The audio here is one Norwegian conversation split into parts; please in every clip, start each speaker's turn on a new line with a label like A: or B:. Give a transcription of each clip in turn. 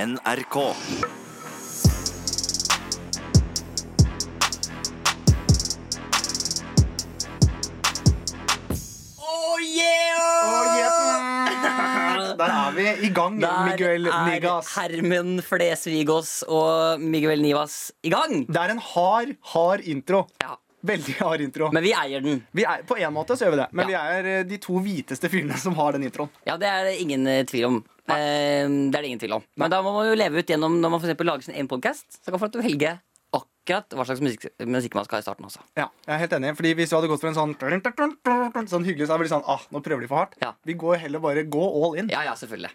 A: NRK.
B: Oh yeah!
C: Der er vi i gang, Miguel Nigas.
B: Hermen Flesvigås og Miguel Nivas i gang.
C: Det er en hard, hard intro.
B: Ja.
C: Veldig hard intro.
B: Men vi eier den.
C: Vi er, på en måte så gjør vi det,
B: Ja.
C: men vi er eh, de to hviteste fyrene som har den introen.
B: Ja, det er det ingen eh, tvil om. Eh, det er det ingen tvil om. Men da må man jo leve ut gjennom når man for eksempel lager sin egen podkast. Så kan man få velge akkurat hva slags musikk, musikk man skal ha i starten også.
C: Ja, jeg er helt enig, fordi Hvis vi hadde gått for en sånn Sånn hyggelig, så er det sånn ah, nå prøver de for hardt.
B: Ja.
C: Vi går heller bare gå all in.
B: Ja, ja, selvfølgelig.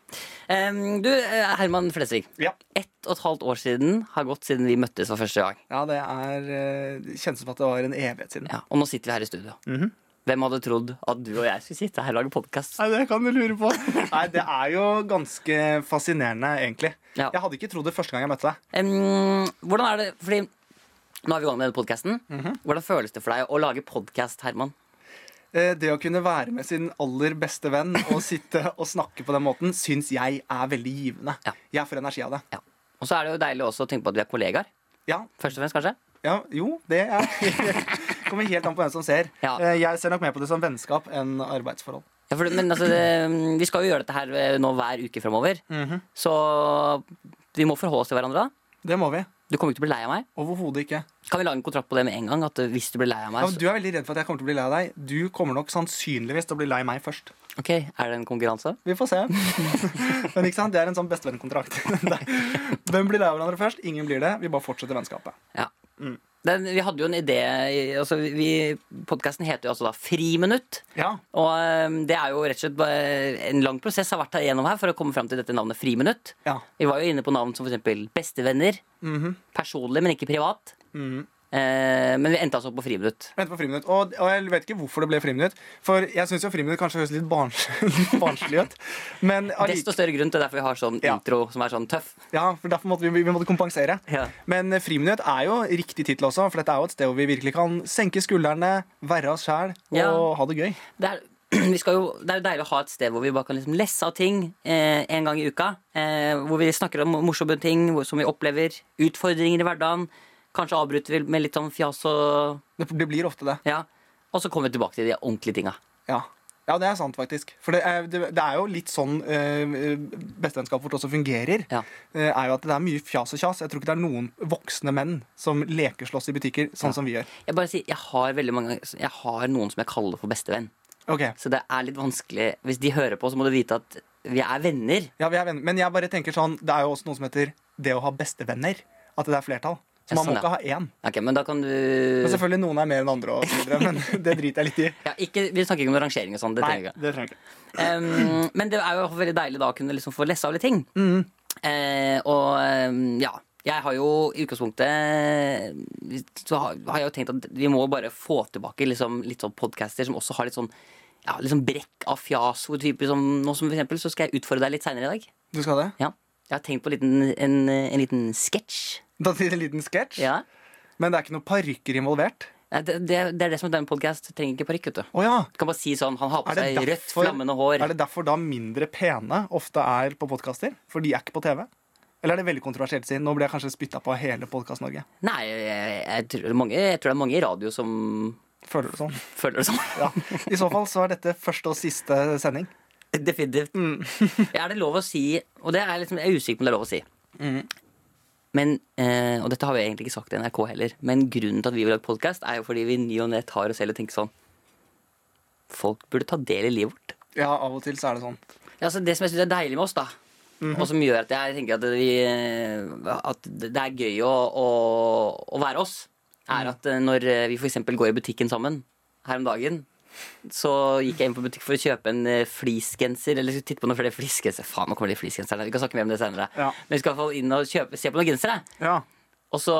B: Eh, du, eh, Herman Flesvig.
C: Ja.
B: Ett og et halvt år siden har gått siden vi møttes for første gang.
C: Ja, det er eh, det kjennes som at det var en evighet siden.
B: Ja, og nå sitter vi her i studio.
C: Mhm.
B: Hvem hadde trodd at du og jeg skulle sitte her og lage podkast?
C: Nei, det kan du lure på. Nei, Det er jo ganske fascinerende, egentlig.
B: Ja.
C: Jeg hadde ikke trodd det første gang jeg møtte deg.
B: Em, hvordan er det, fordi nå er vi i gang med denne podcasten Hvordan føles det for deg å lage podcast, Herman?
C: Eh, Det å kunne være med sin aller beste venn og sitte og snakke på den måten, syns jeg er veldig givende.
B: Ja.
C: Jeg får energi av det.
B: Ja. Og så er det jo deilig også å tenke på at vi er kollegaer
C: Ja,
B: Først og fremst kanskje
C: ja jo, det er Kommer helt an på hvem som ser.
B: Ja.
C: Eh, Jeg ser nok mer på det som vennskap enn arbeidsforhold.
B: ja, for, det- Men altså, det, vi skal jo gjøre dette her eh, nå hver uke fremover Så vi må forholde oss til hverandre da
C: Det må vi.
B: Du kommer ikke til å bli lei av meg
C: Overhodet ikke.
B: Kan vi lage en kontrakt på det med en gang? At eh, hvis du blir lei av meg
C: Ja, men
B: så,
C: du er veldig redd for at jeg kommer til å bli lei av deg. Du kommer nok sannsynligvis til å bli lei meg først.
B: Ok, er det en konkurranse?
C: Vi får se. Men ikke sant? Det er en sånn bestevennkontrakt. Hvem blir lei av hverandre først? Ingen blir det. Vi bare fortsetter vennskapet.
B: Ja Mm. Den, Vi hadde jo en idé i- altså, vi, Podcasten heter jo altså da Friminutt
C: Ja.
B: Og ehm, det er jo rett og slett bare en lang prosess jeg har vært igjennom her for å komme fram til dette navnet Friminutt.
C: Ja. Mhm.
B: Vi var jo inne på navn som f.eks. Bestevenner. Personlig, men ikke privat. Eh, men vi endte altså opp på Friminutt.
C: Vente på friminutt. Og, og jeg vet ikke hvorfor det ble friminutt. For jeg syns jo friminutt kanskje høres litt, barns, litt barnslig ut. Men allike-
B: Desto større grunn til derfor vi har sånn
C: Ja.
B: intro som er sånn tøff.
C: ja, for derfor måtte vi, vi måtte kompensere.
B: Ja.
C: Men eh, friminutt er jo riktig tittel også, for dette er jo et sted hvor vi virkelig kan senke skuldrene, være oss sjæl og
B: Ja.
C: ha det gøy.
B: Det er, vi skal jo, det er jo deilig å ha et sted hvor vi bare kan liksom lesse av ting eh, en gang i uka. Eh, hvor vi snakker om morsomme ting hvor, som vi opplever. Utfordringer i hverdagen. Kanskje avbryter vi med litt sånn fjas og
C: Det, det blir ofte det.
B: Ja. Og så kommer vi tilbake til de ordentlige tinga.
C: Ja. ja, det er sant, faktisk. For det er, det, det er jo litt sånn eh, bestevennskapet vårt også fungerer.
B: Ja.
C: Eh, er jo at Det er mye fjas og kjas. Jeg tror ikke det er noen voksne menn som lekeslåss i butikker sånn som vi gjør.
B: Jeg bare sier, jeg har veldig mange Jeg har noen som jeg kaller for bestevenn.
C: Ok,
B: Så det er litt vanskelig Hvis de hører på, så må du vite at vi er venner.
C: ja, vi er venner. Men jeg bare tenker sånn, det er jo også noe som heter det å ha bestevenner. At det er flertall.
B: Ja,
C: Så man
B: sånn,
C: må ikke
B: ja.
C: ha én.
B: Ok, Men da kan du
C: Men selvfølgelig noen er mer enn andre, og så videre, men det driter jeg litt i.
B: ja, ikke, Vi snakker ikke om noe rangering og sånn. Det
C: Nei,
B: trenger vi ikke.
C: det trenger jeg ikke.
B: Em, men det er jo veldig deilig da å kunne liksom få lesse av litt ting. Eh, og em, ja. Jeg har jo i utgangspunktet Så har, har jeg jo tenkt at vi må bare få tilbake liksom, litt sånn podcaster som også har litt sånn ja, liksom brekk av fjas. Hvor type, liksom, nå som for eksempel, så skal jeg utfordre deg litt seinere i dag.
C: Du skal det?
B: Ja. Jeg har tenkt på en liten, en, en liten sketsj.
C: Da til en liten sketsj.
B: Ja.
C: Men det er ikke noen parykker involvert.
B: Nei, Det, det, det er det som er denne podkast. Trenger ikke parykk, vet du.
C: Å ja.
B: Du kan bare si sånn, Han har på
C: Er det,
B: seg rødt,
C: derfor,
B: flammende hår.
C: er det derfor da mindre pene ofte er på podkaster? For de er ikke på TV? Eller er det veldig kontroversielt siden? Nå blir jeg kanskje spytta på av hele Podkast-Norge.
B: Nei, jeg, jeg, tror mange, jeg tror det er mange i radio som
C: Føler du sånn?
B: føler det sånn.
C: Ja. I så fall så er dette første og siste sending.
B: Definitivt.
C: Mm.
B: er det lov å si Og det er liksom, jeg er usikker på om det er lov å si.
C: Mm.
B: Men, eh, og dette har vi egentlig ikke sagt til NRK heller, men grunnen til at vi vil lage podkast, er jo fordi vi i ny og ne tar oss selv og tenker sånn Folk burde ta del i livet vårt.
C: Ja, av og til så er det sånn.
B: Ja, altså det som jeg synes er deilig med oss, da, og som gjør at jeg tenker at, vi, eh, at det er gøy å, å, å være oss, er at eh, når eh, vi f.eks. går i butikken sammen her om dagen så gikk jeg inn på butikk for å kjøpe en eh, fleecegenser. Eller skulle titte på noen flere fleecegensere. Faen, nå kommer de fleecegenserne. Vi kan snakke mer om det senere.
C: Ja.
B: Men vi skal i hvert fall inn og kjøpe, se på noen gensere.
C: Ja.
B: Og så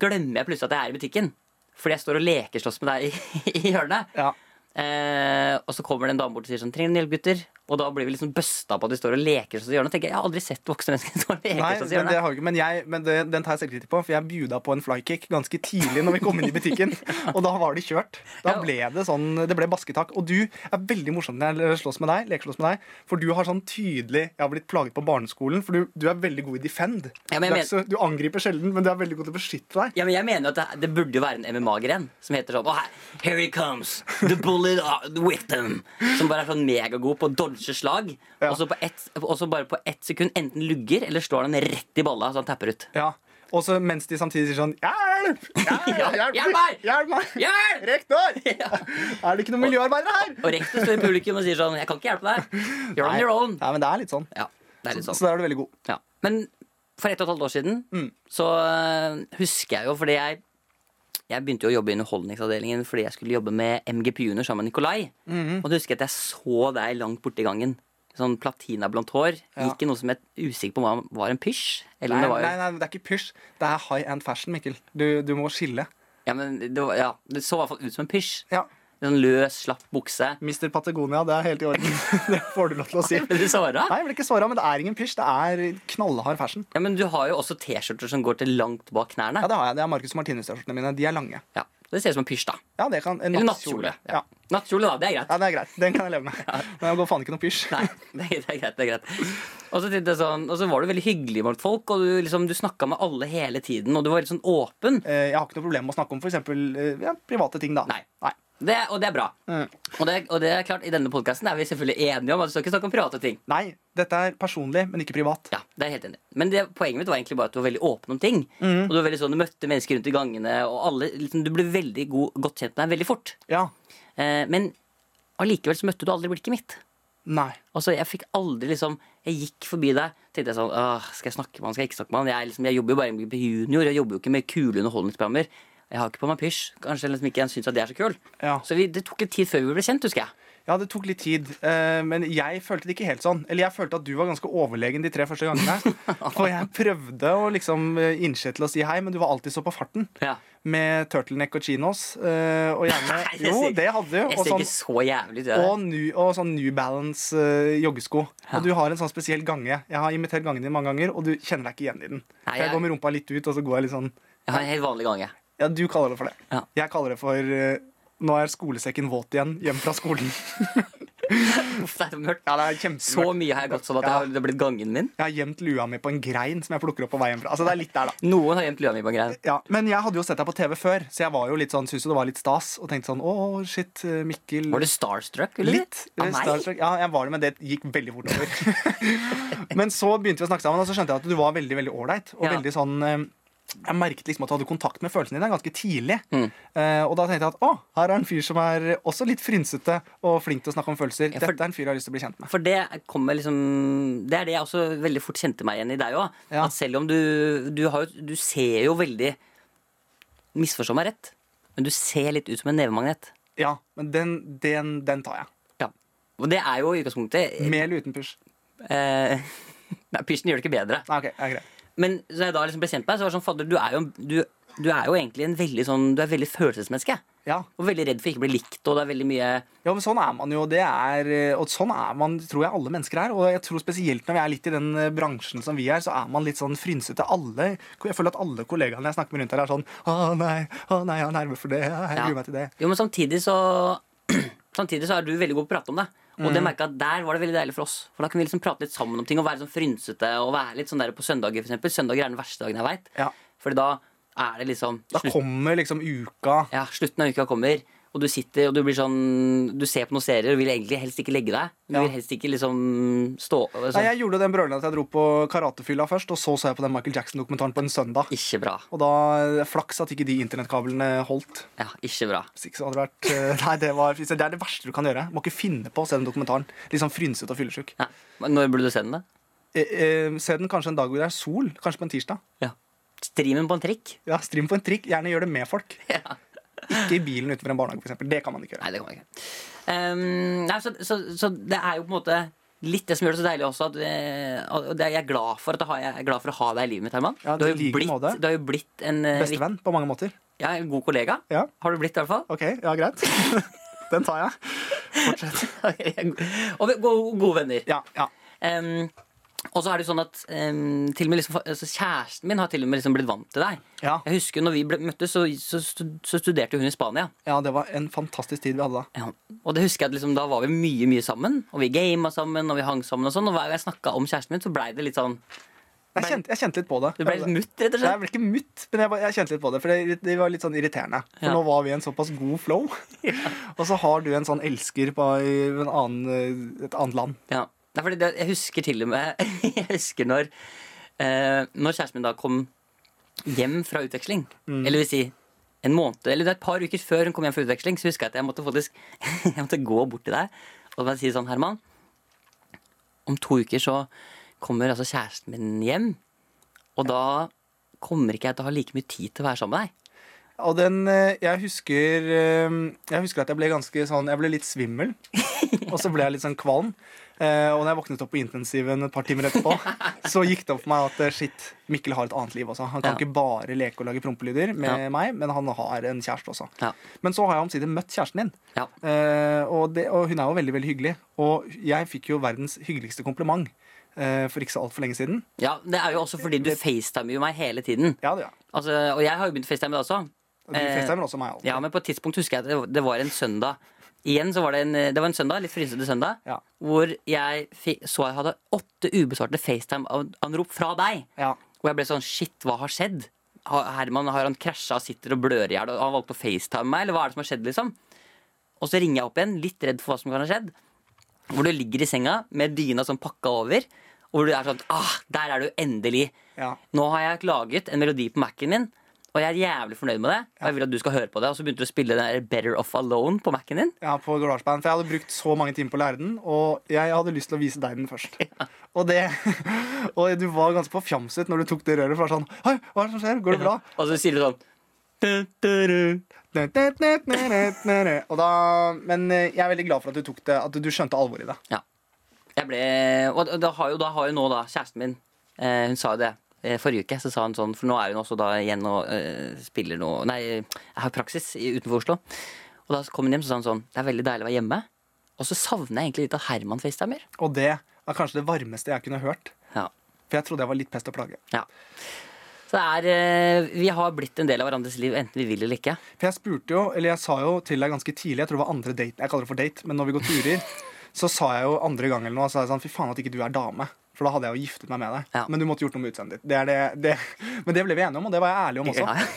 B: glemmer jeg plutselig at jeg er i butikken. Fordi jeg står og lekeslåss med deg i, i hjørnet.
C: ja.
B: Eh, og så kommer det en dame bort og sier sånn Trenger du hjelp, gutter? Og da blir vi liksom busta på at de står og leker seg til hjørnet. Og tenker jeg, jeg har aldri sett voksne mennesker stå og leke
C: Nei,
B: seg til
C: men, det
B: hjørnet.
C: har jeg ikke. men, jeg, men det, den tar jeg selvkritikk på, for jeg bjuda på en flykick ganske tidlig når vi kom inn i butikken. Og da var det kjørt. Da
B: Ja.
C: ble det sånn, det ble basketak. Og du er veldig morsom når jeg slåss med deg, lekeslåss med deg, for du har sånn tydelig Jeg har blitt plaget på barneskolen, for du, du er veldig god i defend.
B: Ja, men jeg
C: du, er ikke så, du angriper sjelden, men du er veldig god til å beskytte deg.
B: Ja, men jeg mener jo at det, det burde jo være en MMA-gren som heter sånn oh, Here he comes, the bullet are the victim. Som bare er sånn megagod på å dodge slag.
C: Ja.
B: Og så på ett- og så bare på ett sekund enten lugger eller slår den rett i balla så han tapper ut.
C: Ja. Og så mens de samtidig sier sånn Hjelp! Hjelp!
B: Ja,
C: Hjelp!
B: hjelp meg!
C: Hjelp meg!
B: Hjelp!
C: Rektor!
B: Ja.
C: Er det ikke noen miljøarbeidere her?
B: Og rektor står i publikum og sier sånn Jeg kan ikke hjelpe deg. You're on
C: Nei.
B: your own.
C: Nei, men det er litt sånn.
B: Ja, det er litt sånn.
C: Så der er du veldig god.
B: Ja. Men for ett og et halvt år siden
C: Mm.
B: så øh, husker jeg jo fordi jeg jeg begynte jo å jobbe i underholdningsavdelingen fordi jeg skulle jobbe med MGP-uner sammen med Nikolai.
C: Mm-hmm.
B: Og da husker jeg at jeg så deg langt borte i gangen. Sånn platina blondt hår.
C: Ja.
B: Gikk i noe som jeg er usikker på om var- var en pysj. Eller om
C: Nei,
B: det var jo
C: nei, nei, det er ikke pysj. Det er high end fashion, Mikkel. Du, du må skille.
B: Ja, men det, var, ja, det så i hvert fall ut som en pysj.
C: Ja.
B: En sånn løs, slapp bukse.
C: Mr. Patagonia, det er helt i orden. det får du lov til å si.
B: Ble du såra?
C: Nei, jeg ble ikke såra, men det er ingen pysj. Det er knallhard fashion.
B: Ja, men du har jo også T-skjorter som går til langt bak knærne.
C: Ja, det har jeg. Det er Marcus Martinus-T-skjortene mine. De er lange.
B: Ja, Det ser ut som en pysj, da.
C: Ja, det kan En
B: Eller
C: nattkjole.
B: nattkjole.
C: Ja.
B: Ja. Nattkjole, da. Det er greit.
C: ja, det er greit. Den kan jeg leve med. Men jeg går faen ikke noe pysj.
B: Nei, det er, det er greit. det er greit Og så, tenkte jeg sånn, og så var du veldig hyggelig mot folk, og du, liksom, du snakka med alle hele tiden. Og du var litt sånn åpen.
C: Eh, Jeg har ikke noe problem med å snakke om for eksempel, eh, ja, private ting, da.
B: Nei. Det, og det er bra.
C: Mm.
B: Og, det, og det er klart, i denne podkasten er vi selvfølgelig enige om at du skal ikke snakke om private ting.
C: Nei, dette er personlig, men ikke privat.
B: Ja, det er jeg helt enig. i. Men det, poenget mitt var egentlig bare at du var veldig åpen om ting. Og Du var veldig sånn, du møtte mennesker rundt i gangene, og alle, liksom, du ble veldig god, godt kjent med dem veldig fort.
C: Ja.
B: Eh, men allikevel så møtte du aldri blikket mitt.
C: Nei.
B: Altså, jeg fikk aldri liksom Jeg gikk forbi deg, tenkte jeg sånn Åh, Skal jeg snakke med han, skal jeg ikke snakke med han? Jeg, er liksom, jeg jobber jo bare med junior, jeg jobber jo ikke med kule underholdningsprogrammer. Jeg har ikke på meg pysj. Kanskje liksom ikke han syns at det er så kul.
C: Ja.
B: Så vi, det tok litt tid før vi ble kjent, husker jeg.
C: Ja, det tok litt tid, eh, men jeg følte det ikke helt sånn. Eller jeg følte at du var ganske overlegen de tre første gangene. For jeg prøvde å liksom eh, innse til å si hei, men du var alltid så på farten.
B: Ja.
C: Med turtleneck og chinos. eh, Og gjerne
B: Nei, jeg
C: Jo,
B: ser-
C: det hadde du.
B: Jeg
C: Og
B: ser
C: sånn,
B: ikke så jævlig ut. jeg.
C: og, new, og sånn New Balance eh, joggesko.
B: Ja.
C: Og du har en sånn spesiell gange. Jeg har imitert gangen din mange ganger, og du kjenner deg ikke igjen i den.
B: Nei,
C: jeg
B: jeg-
C: går med rumpa litt ut, og så går jeg litt sånn
B: Jeg har en helt vanlig gange.
C: Ja, du kaller det for det.
B: Ja.
C: Jeg kaller det for eh, Nå er skolesekken våt igjen, hjem fra skolen.
B: Uff, det er så mørkt.
C: Ja, det er kjempemørkt.
B: Så mye har jeg gått sånn at jeg har- det har blitt gangen min.
C: Jeg har gjemt lua mi på en grein som jeg plukker opp på veien fra. Altså, det er litt der, da.
B: Noen har gjemt lua mi på en greie.
C: Ja, men jeg hadde jo sett deg på TV før, så jeg var jo litt sånn, syntes jo det var litt stas. Og tenkte sånn Å, shit, Mikkel
B: Var du starstruck? Eller?
C: Litt. eh,
B: Av meg?
C: Star Trek. Ja, jeg var det, men det gikk veldig fort over. men så begynte vi å snakke sammen, og så skjønte jeg at du var veldig veldig ålreit. Og
B: Ja.
C: veldig sånn eh, Jeg merket liksom at du hadde kontakt med følelsene dine ganske tidlig.
B: Mm.
C: Eh, og da tenkte jeg at å, her er en fyr som er også litt frynsete og flink til å snakke om følelser.
B: Ja, for-
C: Dette er en fyr jeg har lyst til å bli kjent med.
B: For det kommer liksom Det er det jeg også veldig fort kjente meg igjen i deg òg.
C: Ja.
B: At selv om du du, har, jo- du ser jo veldig Misforstå meg rett, men du ser litt ut som en nevemagnet.
C: Ja, men den, den, den tar jeg.
B: Ja. Og det er jo i utgangspunktet
C: Med eller uten pysj.
B: eh, Nei, pysjen gjør det ikke bedre.
C: Nei, ok, det er greit.
B: Men så jeg da liksom ble kjent med deg, så var det sånn Fadder, du er jo, du, du er jo egentlig en veldig sånn Du er veldig følelsesmenneske.
C: Ja.
B: Og veldig redd for ikke å bli likt, og det er veldig mye
C: ja, men sånn er man jo. Det er, og sånn er man, tror jeg, alle mennesker er. Og jeg tror spesielt når vi er litt i den eh, bransjen som vi er, så er man litt sånn frynsete. Alle, jeg føler at alle kollegaene jeg snakker med rundt her, er sånn Å nei, å nei, jeg er nerve for det. Jeg
B: Ja.
C: gruer meg til det.
B: Jo, men samtidig så Samtidig så er du veldig god på å prate om det. Og
C: Mm.
B: det merket jeg at der var det veldig deilig for oss. For da kunne vi liksom prate litt sammen om ting og være sånn frynsete. Og være litt sånn der på søndager, for eksempel. Søndager er den verste dagen jeg veit.
C: Ja.
B: Fordi da er det liksom
C: Da
B: slutt,
C: kommer liksom uka.
B: ja, Slutten av uka kommer, og du sitter og du blir sånn Du ser på noen serier og vil egentlig helst ikke legge deg. Du
C: Ja.
B: vil helst ikke liksom stå sånn.
C: Nei, jeg gjorde den brølen at jeg dro på karatefylla først, og så så jeg på den Michael Jackson-dokumentaren på en søndag.
B: Ikke bra.
C: Og da eh, Flaks at ikke de internettkablene holdt.
B: Ja, ikke bra.
C: Hvis ikke så hadde det vært eh, Nei, det, var, det er det verste du kan gjøre. Må ikke finne på å se den dokumentaren. Litt sånn frynsete og fyllesyk.
B: Ja. Men Når burde du se den, da?
C: Eh, eh, se den kanskje en dag hvor det er sol. Kanskje på en tirsdag.
B: Ja. Streamen på en trikk?
C: Ja, Stream på en trikk. Gjerne gjør det med folk. Ikke i bilen utenfor en barnehage, for eksempel Det kan man ikke gjøre.
B: Nei, det kan man ikke. Ehm, nei, så, så, så det er jo på en måte litt det som gjør det så deilig også. At, eh, og det, jeg, er glad for at jeg, har, jeg er glad for å ha deg i livet mitt, Herman.
C: Ja,
B: du, har
C: i
B: jo
C: like
B: blitt,
C: måte.
B: du har jo blitt en, eh,
C: Bestevenn på mange måter.
B: ja, en god kollega.
C: Ja,
B: Har du blitt, i hvert fall.
C: ok, ja, greit. Den tar jeg. Fortsett.
B: og vi- gode, gode venner.
C: Ja, ja.
B: Em, og så er det jo sånn at em, til og med liksom, altså, Kjæresten min har til og med liksom blitt vant til deg.
C: Ja.
B: Jeg husker når vi ble, møttes, så, så, stu- så studerte hun i Spania.
C: ja, det var en fantastisk tid vi hadde da.
B: Ja. Og det husker jeg at liksom, Da var vi mye mye sammen, og vi gama sammen og vi hang sammen. Og sånn, og hver gang jeg snakka om kjæresten min, så blei det litt sånn
C: Jeg kjente, jeg kjente litt på det.
B: Du ble litt mutt, rett og
C: Jeg
B: slett.
C: ble ikke mutt, men jeg, var- jeg kjente litt på det. For det, det var litt sånn irriterende. For
B: Ja.
C: nå var vi i en såpass god flow. Og så har du en sånn elsker på i en annen, eh, et annet land.
B: Ja. Nei, fordi det, jeg husker til og med Jeg husker når eh, Når kjæresten min da kom hjem fra utveksling,
C: Mm.
B: eller vil si en måned, eller det er et par uker før hun kom hjem fra utveksling, så husker jeg at jeg måtte faktisk Jeg måtte gå bort til deg og bare si sånn, Herman Om to uker så kommer altså kjæresten min hjem, og da kommer ikke jeg til å ha like mye tid til å være sammen med deg.
C: Og den eh, Jeg husker eh, Jeg husker at jeg ble ganske sånn Jeg ble litt svimmel. Og så ble jeg litt sånn kvalm. Eh, Og når jeg våknet opp på intensiven et par timer etterpå, så gikk det opp for meg at eh, shit, Mikkel har et annet liv også. Han kan
B: Ja.
C: ikke bare leke og lage prompelyder med
B: Ja.
C: meg, men han har en kjæreste også.
B: Ja.
C: Men så har jeg omsider møtt kjæresten din.
B: Ja.
C: Eh, og, det, og hun er jo veldig veldig hyggelig. Og jeg fikk jo verdens hyggeligste kompliment eh, for ikke så altfor lenge siden.
B: ja, Det er jo også fordi du facetimer jo meg hele tiden.
C: Ja, det gjør jeg.
B: Altså, og jeg har jo begynt å facetime deg også.
C: Og du
B: Eh,
C: facetimer også meg. alltid.
B: Ja, men på et tidspunkt husker jeg at det- det var en søndag. Igjen så var det en, det var en søndag, litt frysete søndag,
C: Ja.
B: hvor jeg fi- så jeg hadde åtte ubesvarte FaceTime-anrop fra deg.
C: Ja.
B: Og jeg ble sånn Shit, hva har skjedd? Har Herman har han krasja og sitter og blør i hjel, og han valgte å FaceTime meg, eller hva er det som har skjedd, liksom? Og så ringer jeg opp igjen, litt redd for hva som kan ha skjedd, hvor du ligger i senga med dyna sånn pakka over, og hvor du er sånn Ah, der er du endelig!
C: ja.
B: Nå har jeg laget en melodi på Mac-en min, og jeg er jævlig fornøyd med det. Og jeg vil at du skal høre på det Og så begynte du å spille den der Better Off Alone på Mac-en din.
C: Ja, på GarageBand. For jeg hadde brukt så mange timer på å lære den, og jeg hadde lyst til å vise deg den først. Og, det, og du var ganske forfjamset når du tok det røret. For det var sånn Hei, hva er det som skjer? Går det bra?
B: Og så sier du sånn «Du-du-du».
C: Og da, men eh, jeg er veldig glad for at du tok det At du skjønte alvoret i det.
B: Ja. Jeg ble Og da har jo, da har jo nå da kjæresten min eh, Hun sa jo det eh, forrige uke. Så sa hun sånn For nå er hun også da igjen og eh, spiller noe Nei, jeg har praksis i- utenfor Oslo. Og da kom hun hjem, så sa hun sånn Det er veldig deilig å være hjemme. Og så savner jeg egentlig litt at Herman facetimer.
C: Og det er kanskje det varmeste jeg kunne hørt.
B: Ja.
C: For jeg trodde jeg var litt pest og plage.
B: Ja. Så det er, eh, vi har blitt en del av hverandres liv, enten vi vil eller ikke.
C: For jeg spurte jo, eller jeg sa jo til deg ganske tidlig, jeg tror det var andre date, jeg kaller det for date, men når vi går turer, så sa jeg jo andre gang eller noe, så sa jeg sånn, fy faen at ikke du er dame. For da hadde jeg jo giftet meg med deg.
B: Ja.
C: Men du måtte gjort noe med utseendet ditt. Det er det, det. Men det ble vi enige om, og det var jeg ærlig om også.
B: Ja, ja.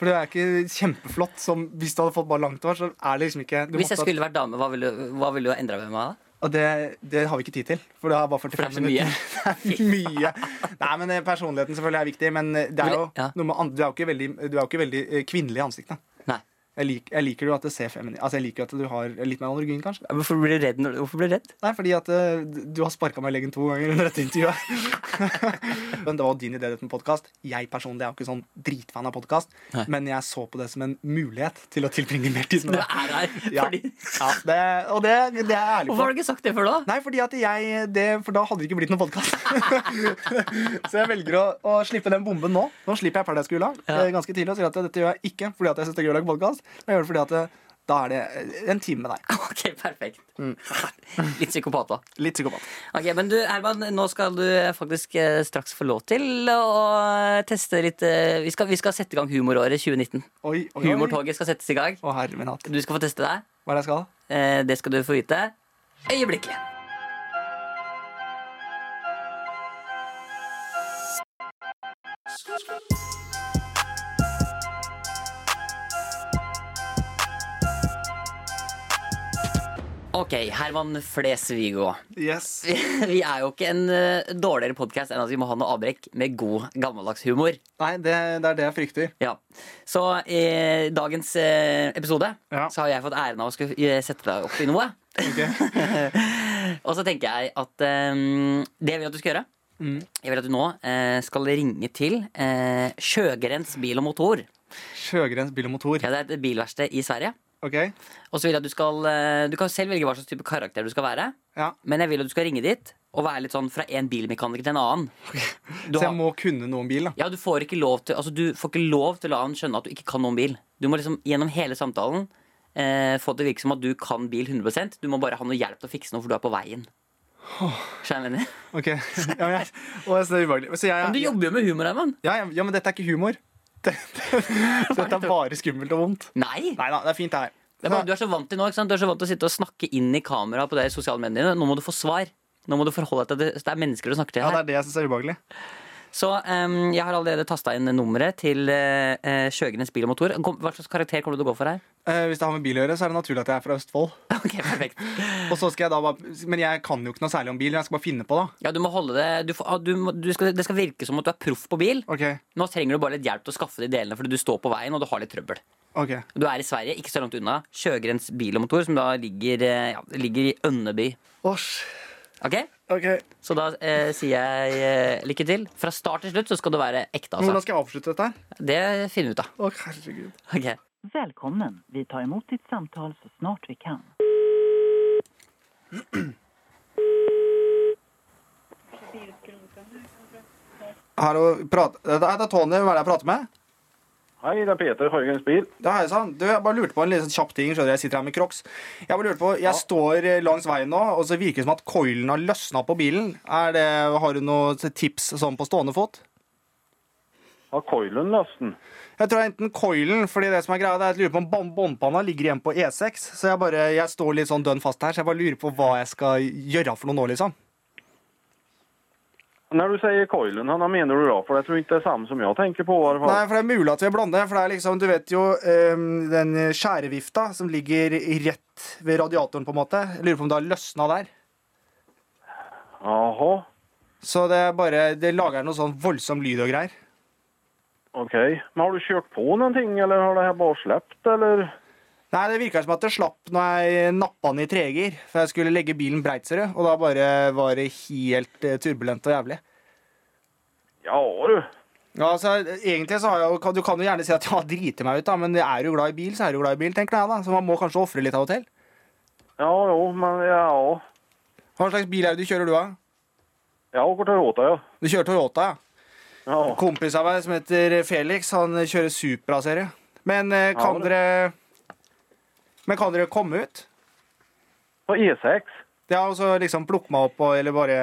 C: For det er ikke kjempeflott. Som, hvis du hadde fått bare langt hår, så er det liksom ikke du
B: Hvis jeg
C: måtte ha-
B: skulle vært dame, hva ville, hva ville du ha endra med meg da?
C: Og det, det har vi ikke tid til. For det er bare 45
B: For det er så
C: minutter.
B: mye.
C: mye. Nei, men eh, personligheten selvfølgelig er viktig, men eh, det er jo,
B: Ja.
C: noe med an- du er jo ikke veldig, du er jo ikke veldig eh, kvinnelig i ansiktet.
B: Nei.
C: Jeg, lik, jeg liker jo at det ser feminin Altså jeg liker at du har litt mer androgyn, kanskje.
B: Hvorfor blir du redd? Når, hvorfor blir du redd?
C: Nei, fordi at eh, du har sparka meg i leggen to ganger under dette intervjuet. men det var jo din idé, dette med podkast. Jeg personlig er jo ikke sånn dritfan av podkast,
B: Nei.
C: men jeg så på det som en mulighet til å tilbringe mer tid
B: Du
C: med
B: er
C: deg.
B: her
C: Ja.
B: fordi
C: Ja, det, og det, det er jeg
B: Hvorfor
C: ærlig på.
B: har du ikke sagt det før da?
C: Nei, fordi at jeg det, For da hadde det ikke blitt noen podkast. så jeg velger å, å slippe den bomben nå. Nå slipper jeg Paradise Gula
B: Ja.
C: eh, ganske tidlig og sier at dette gjør jeg ikke fordi at jeg syns det er gøy å lage podkast, men jeg gjør det fordi at eh, da er det eh, en time med deg.
B: Ok, perfekt. Litt psykopat, da.
C: Litt psykopat.
B: Ok, Men du, Herman, nå skal du faktisk eh, straks få lov til å teste litt eh, Vi skal, vi skal sette i gang humoråret 2019.
C: Oi, oi, oi.
B: Humortoget skal settes i gang.
C: Å, herre min hatt.
B: Du skal få teste deg.
C: Hva er det jeg skal?
B: Eh, Det skal du få vite øyeblikkelig. Ok, Herman Flesvig-Aa.
C: Yes.
B: Vi er jo ikke en eh, dårligere podkast enn at vi må ha noe avbrekk med god, gammeldags humor.
C: Nei, det, det er det jeg frykter.
B: Ja. Så i dagens eh, episode
C: Ja.
B: så har jeg fått æren av å skulle eh, sette deg opp i noe.
C: Ok.
B: Og så tenker jeg at eh, det jeg vil at du skal gjøre
C: Mm.
B: Jeg vil at du nå eh, skal ringe til eh, Sjøgrens bil og motor.
C: Sjøgrens bil og motor.
B: Ja, det er et bilverksted i Sverige.
C: Ok.
B: Og så vil jeg at Du skal eh, Du kan selv velge hva slags type karakter du skal være,
C: Ja.
B: men jeg vil at du skal ringe dit og være litt sånn fra en bilmekaniker til en annen. Du
C: Så
B: har-
C: jeg må kunne noe om bil, da.
B: Ja, du får ikke lov til Altså, du får ikke lov til å la han skjønne at du ikke kan noe om bil. Du må liksom gjennom hele samtalen eh, få det til å virke som at du kan bil 100 Du må bare ha noe hjelp til å fikse noe, for du er på veien. Skjønner du hva jeg mener?
C: Ok. Ja, men jeg, og jeg, så det er ubehagelig. Så jeg,
B: Men du
C: ja,
B: jobber jo med humor, Herman.
C: ja, ja, men dette er ikke humor. Det- det- så Dette er bare skummelt og vondt.
B: Nei.
C: Nei da, det er fint, det her.
B: Det er bare, du er så vant til nå, ikke sant? Du er så vant til å sitte og snakke inn i kamera på de sosiale mediene. Nå må du få svar. Nå må du forholde deg til det. Det er mennesker du snakker til
C: Ja,
B: her.
C: det er det jeg syns er ubehagelig.
B: Så em, jeg har allerede tasta inn nummeret til eh, eh, Sjøgrens bil og motor. Kom- Hva slags karakter kommer du til å gå for her?
C: Eh, hvis det har med bil å gjøre, så er det naturlig at jeg er fra Østfold.
B: Ok, perfekt.
C: Og så skal jeg da bare, Men jeg kan jo ikke noe særlig om bil. Jeg skal bare finne på, da.
B: Ja, du må holde det du, får- ah, du, må- du skal, Det skal virke som at du er proff på bil.
C: Ok,
B: Nå trenger du bare litt hjelp til å skaffe de delene, fordi du står på veien og du har litt trøbbel.
C: ok
B: Du er i Sverige, ikke så langt unna. Sjøgrens bil og motor, som da ligger, eh, ja, ligger i Ønneby.
C: Åsj.
B: Ok?
C: Ok,
B: Så da eh, sier jeg eh, lykke til. Fra start til slutt så skal du være ekte,
C: men Hvordan
B: altså.
C: skal jeg avslutte dette? her?
B: Det finner vi ut av.
C: Å, herregud.
B: Ok.
A: Välkommen. Vi tar emot ditt samtal så snart vi kan.
C: Hallo, prat. Det er Tony. Hva er det jeg prater med?
D: Hei, det er Peter Høygrens bil.
C: Ja, hei sann. Du, jeg bare lurte på en litt sånn kjapp ting. Skjønner du, Jeg sitter her med Crocs. Jeg bare lurte på, jeg står eh, langs veien nå, og så virker det som at coilen har løsna på bilen. Er det, har du noe tips sånn på stående fot?
D: Har coilen lasten?
C: Jeg tror det er enten coilen, fordi det som er greia, det er at jeg lurer på om bånd- båndpanna ligger igjen på E6. Så jeg bare, jeg står litt sånn dønn fast her, så jeg bare lurer på hva jeg skal gjøre for noe nå, liksom.
D: Når du sier coilen, Hanna, mener du da? For jeg tror ikke det er samme som jeg tenker på. i hvert fall.
C: Nei, for det er mulig at vi er blonde. For det er liksom, du vet jo ehm, den skjærevifta som ligger rett ved radiatoren, på en måte. Jeg lurer på om det har løsna der.
D: Jaha,
C: Så det er bare, det lager noe sånn voldsom lyd og greier.
D: ok. Men har du kjørt på noen ting, eller har det her bare slept, eller?
C: Nei, det virka som at det slapp når jeg nappa den i tregir. For jeg skulle legge bilen Breitserud, og da bare var det helt eh, turbulent og jævlig.
D: Ja, du.
C: Ja, altså, egentlig så har jeg, jo- Du kan jo gjerne si at jeg har driti meg ut, da, men er du glad i bil, så er du glad i bil, tenker jeg da. Så man må kanskje ofre litt av og til.
D: Ja, jo, men ja, ja.
C: Hva slags bil er det du kjører, du, da?
D: Jeg åker til Råta, ja.
C: Du kjører Toyota, ja?
D: Ja,
C: Kompis av meg som heter Felix, han kjører Supra-serie. Men eh, kan
D: Ja, det-
C: dere Men kan dere komme ut?
D: på E E6.
C: Det er altså liksom plukke meg opp og eller bare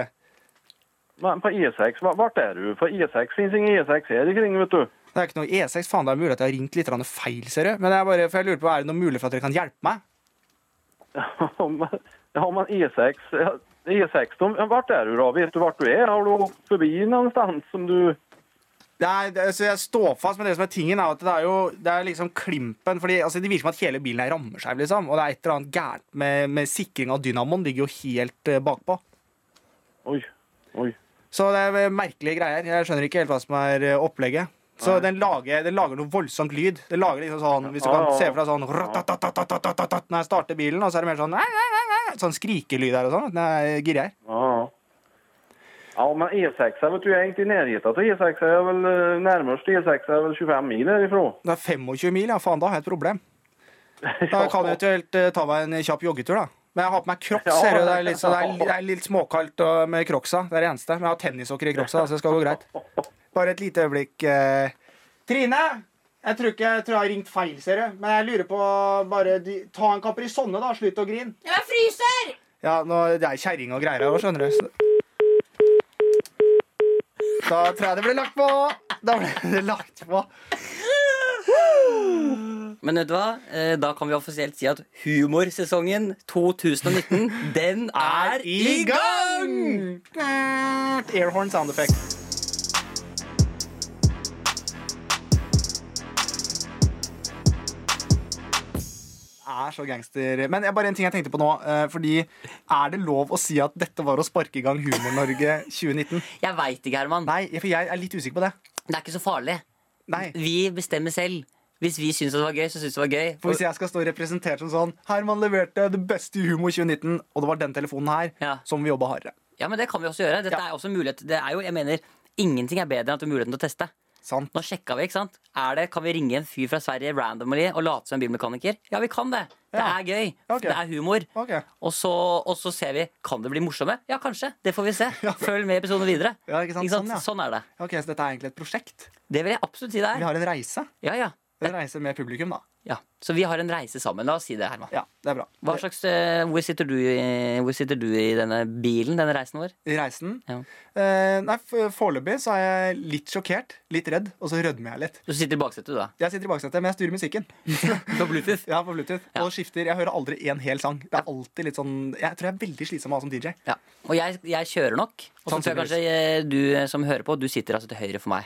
D: Men på E6, hva- vart er du? På E6 finnes ingen E6 her ikring, vet du.
C: Det er ikke noe E6. Faen, det er mulig at jeg har ringt litt grann feil, ser du. Men jeg bare, for jeg lurer på, er det noe mulig for at dere kan hjelpe meg?
D: Ja, men E6, ja, E6, de, ja, vart er du da? Vet du vart du er? Har du åkt forbi någonstans som du...
C: Det er, det, så jeg står fast, men det som er tingen, er at det er jo det er liksom klimpen fordi altså, Det virker som at hele bilen her rammer seg, liksom. Og det er et eller annet gærent med, med sikring av dynamoen. Ligger jo helt eh, bakpå.
D: Oj, oj.
C: Så det er merkelige greier. Jeg skjønner ikke helt hva som er eh, opplegget. Så den lager, den lager noe voldsomt lyd. Den lager liksom sånn, Hvis du
D: Ja,
C: kan
D: ja.
C: se for deg sånn ratatatatatatatat når jeg starter bilen, og så er det mer sånn Sånn skrikelyd her og sånn. Når jeg girer her.
D: Ja. Ja, men E6 vet du, jag är inte i närheten av E6. Jag är väl eh, närmast E6 är väl 25 mil härifrån.
C: Det er 25 mil, ja faen, da har jeg et problem. Da kan jeg eventuelt eh, ta meg en kjapp joggetur, da. Men jeg har på meg crocs,
D: Ja.
C: ser du. Det er litt, så det er, li- det er litt småkaldt og med crocsa. Det er det eneste. Men jeg har tennissokker i crocsa, så det skal gå greit. Bare et lite øyeblikk. eh. Trine! Jeg tror ikke jeg tror jeg har ringt feil, ser du. Men jeg lurer på bare de, Ta en Caprisonne, da. Slutt å grine.
E: Jeg fryser!
C: Ja, nå, det er kjerring og greier her òg, skjønner du. Så. Da tror jeg det ble lagt på. Da ble det lagt på.
B: Men vet du hva? Eh, Da kan vi offisielt si at humorsesongen 2019, den er i gang!
C: Airhorn sound effect. er så gangster. Men jeg, bare en ting jeg tenkte på nå. eh, Fordi Er det lov å si at dette var å sparke i gang Humor-Norge 2019?
B: Jeg veit ikke, Herman.
C: Nei, for jeg er litt usikker på det.
B: Det er ikke så farlig.
C: Nei,
B: Vi bestemmer selv. Hvis vi syns det var gøy, så syns det var gøy.
C: for Hvis jeg skal stå representert som sånn Herman leverte det beste i humor 2019, og det var den telefonen her,
B: Ja.
C: så må vi jobbe hardere.
B: Ja, men det kan vi også gjøre. Dette
C: Ja.
B: er også en mulighet. Det er jo, jeg mener, ingenting er bedre enn at du har muligheten til å teste.
C: Sant?
B: Nå sjekka vi, ikke sant? Er det, Kan vi ringe en fyr fra Sverige randomly og late som en bilmekaniker? Ja, vi kan det. Det
C: Ja.
B: er gøy.
C: Ok.
B: Det er humor.
C: Ok.
B: Og, så, og så ser vi. Kan det bli morsomme? Ja, kanskje. Det får vi se. Følg med i episoden videre.
C: Ja, ikke sant? Sånn, ja.
B: sånn er det.
C: Ok, Så dette er egentlig et prosjekt?
B: Det vil jeg absolutt si det
C: Vi
B: er.
C: har en reise.
B: Ja, ja.
C: En reise med publikum, da.
B: Ja. Så vi har en reise sammen. La oss si det, Herman.
C: Ja, det er bra.
B: Hva slags, eh, hvor, sitter du i, hvor sitter du i denne bilen, denne reisen vår?
C: I Reisen?
B: Ja.
C: Eh, nei, f- Foreløpig så er jeg litt sjokkert, litt redd, og så rødmer jeg litt.
B: Du sitter i baksetet, du, da.
C: Jeg sitter i baksetet, men jeg styrer musikken.
B: På Bluetooth.
C: Ja, på Bluetooth.
B: Ja.
C: Og skifter. Jeg hører aldri en hel sang. Det er alltid litt sånn Jeg tror jeg er veldig slitsom av å ha som DJ.
B: Ja. Og jeg, jeg kjører nok. Og så tror jeg kanskje eh, du som hører på, du sitter altså til høyre for meg.